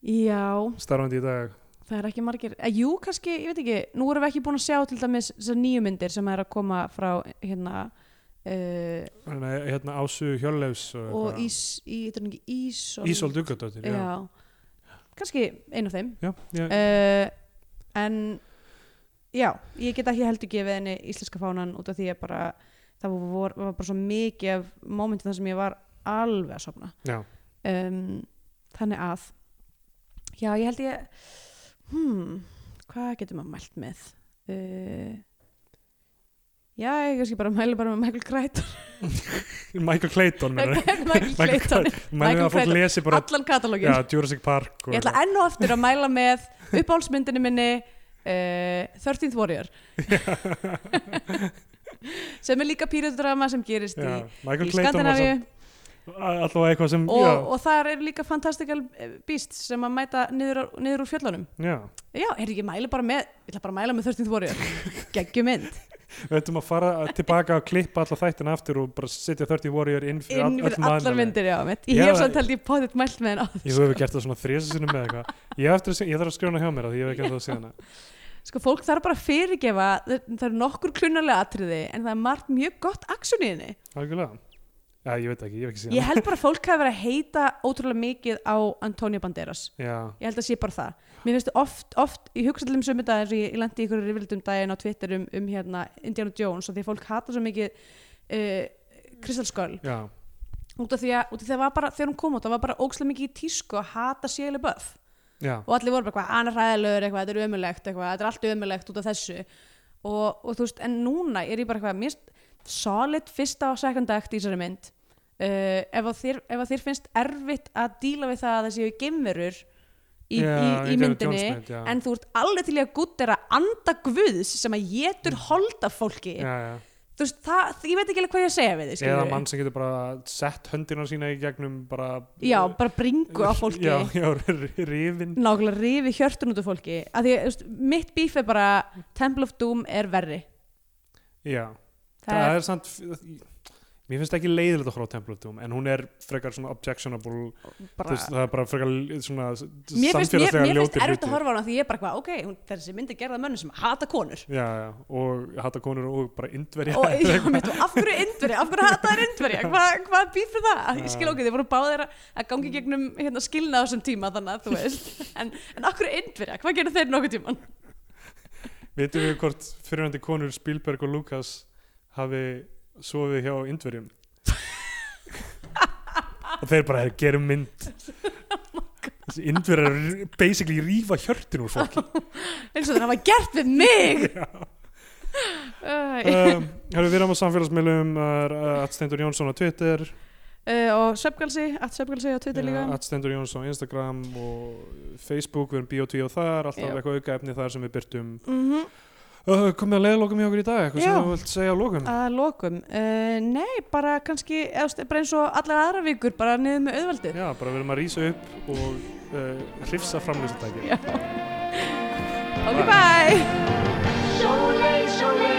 já, starfandi í dag? það er ekki margir eh, jú, kannski, ég veit ekki, nú erum við ekki búin að sjá til dæmis þessar nýju myndir sem er að koma frá hérna uh, Nei, hérna Ásu Hjörleifs og Ís, í, þetta er ekki Ísól Ísól Dugardóttir já. já. kannski einu af þeim Já, já, uh, en já, ég get ekki heldur gefið henni íslenska fánan út af því að bara það var, var bara svo mikið af mómentum þar sem ég var alveg að sofna já. um, þannig að já, ég held ég hmm, hvað getur maður mælt með uh, já, ég kannski bara mæli bara með Michael Crichton Michael Clayton meinar við. Eh, Michael Crichton, Mælum við Michael að fólk Clayton. lesi bara allan katalógin já, sko. Jurassic Park og Ég ætla enn og aftur að mæla með uppáhalsmyndinu minni uh, 13th Warrior sem er líka pírudrama sem gerist já, í, Michael í Clayton var Skandinavíu samt allavega eitthvað sem já, og, og þar er líka fantastical eh, beasts sem að mæta niður, á- niður úr fjöllunum já. Já, er ég mæla bara með ég ætla bara að mæla með 13th Warrior geggjum mynd við ættum að fara tilbaka og klippa alla þættin aftur og bara setja 30 Warrior inn fyrir, all- inn fyrir öllum allar aðilum. myndir já, mitt. Ég Já, hef það- samt held ég potið mælt með henn á ég hefur gert það svona þrjasa sinni með eitthvað ég, á eftir, að sé- ég þarf að skrifa hana hjá mér af því ég hef ekki að það síðan Sko, fólk þarf bara að fyrirgefa það það eru nokkur klunarlega atriði en það er margt mjög gott aksjón í henni algjörlega Já, ég veit ekki, ég hef ekki síðan Ég held bara að fólk hafi verið að heita ótrúlega mikið á Antonio Banderas. Já, Ég held að sé bara það. Mér finnst oft, oft, ég hugsa allir um sömu dag eins og ég, ég lendi í ykkur rivildum daginn á Twitter um, um hérna Indiana Jones og því að fólk hata svo mikið uh, Crystal Skull. já, Út af því að, út af því að það var bara, þegar hún kom út, það var bara ókslega mikið í tísku að hata Shia LaBeouf. já Og allir voru bara eitthvað, "Ah, hann er hræðilegur eitthvað, þetta er ömulegt eitthvað, þetta er allt ömulegt út af þessu. Og, og þú veist, en núna er ég bara eitthvað, mér finnst solid fyrsta og second act í þessari mynd. Uh, ef, að þér, ef að þér finnst erfitt að díla við það að það séu geimverur í, Já, í, í Indiana myndinni, Jones mynd, já. en þú ert alveg til í að guttera anda guðs sem að getur holda fólki. Já, já. Þú veist, það, ég veit ekki alveg hvað ég að segja við þið, Eða skilurðu. mann sem getur bara sett höndina sína í gegnum bara Já, bara bringu á fólki. Já, já, rifin nákvæmlega rifi hjörtun út af fólki að því, þú veist, mitt bíf er bara Temple of Doom er verri Já, það, það, er, er samt Mér finnst ekki leiðilegt að horfa á Temple of Doom en hún er frekar svona objectionable þú bara veist, það er bara frekar l- svona mér finnst, mér, samfélagslega mér finnst ljótir erfitt að hlutir. horfa á hana því ég er bara hvað, ok, hún, þessi mynd er gerða mönnum sem hata konur Já, já, og hata konur og bara indverja og já, mitt, og af hverju indverja, af hverju hata þær indverja hvað hva býf er það, ég skil okkur þið voru báðir að að gangi gegnum hérna, skilna á þessum tíma þannig að þú veist en, en af hverju indverja, hvað gerir þeir nokkuð tíman Vitum við hvort fyrirhandi konur Spielberg og Lucas hafi sofið hjá indverjum og þeir bara gerum mynd þessi indverjar r- basically rífa hjörtin úr fólki eins og þeir hafa gert við mig Æ. um, Hefur við erum á samfélagsmiðlum Atstendur Jónsson á Twitter uh, og Söpgalsi, allt Söpgalsi á Twitter líka Atstendur Jónsson á Instagram og Facebook, við erum B.O.T. og þar alltaf Já. eitthvað auka efni þar sem við byrtum mhm uh, komið að leiðlokum hjá okkur í dag eitthvað Já. sem þú vilt segja á lokum Að lokum, uh, nei, bara kannski, eða, þú veist, bara eins og allar aðra vikur, bara niður með auðvaldið. Já, bara við erum að rýsa upp og uh, hrifsa framlýsatækja Ok, bye! Sjóleið, sjóleið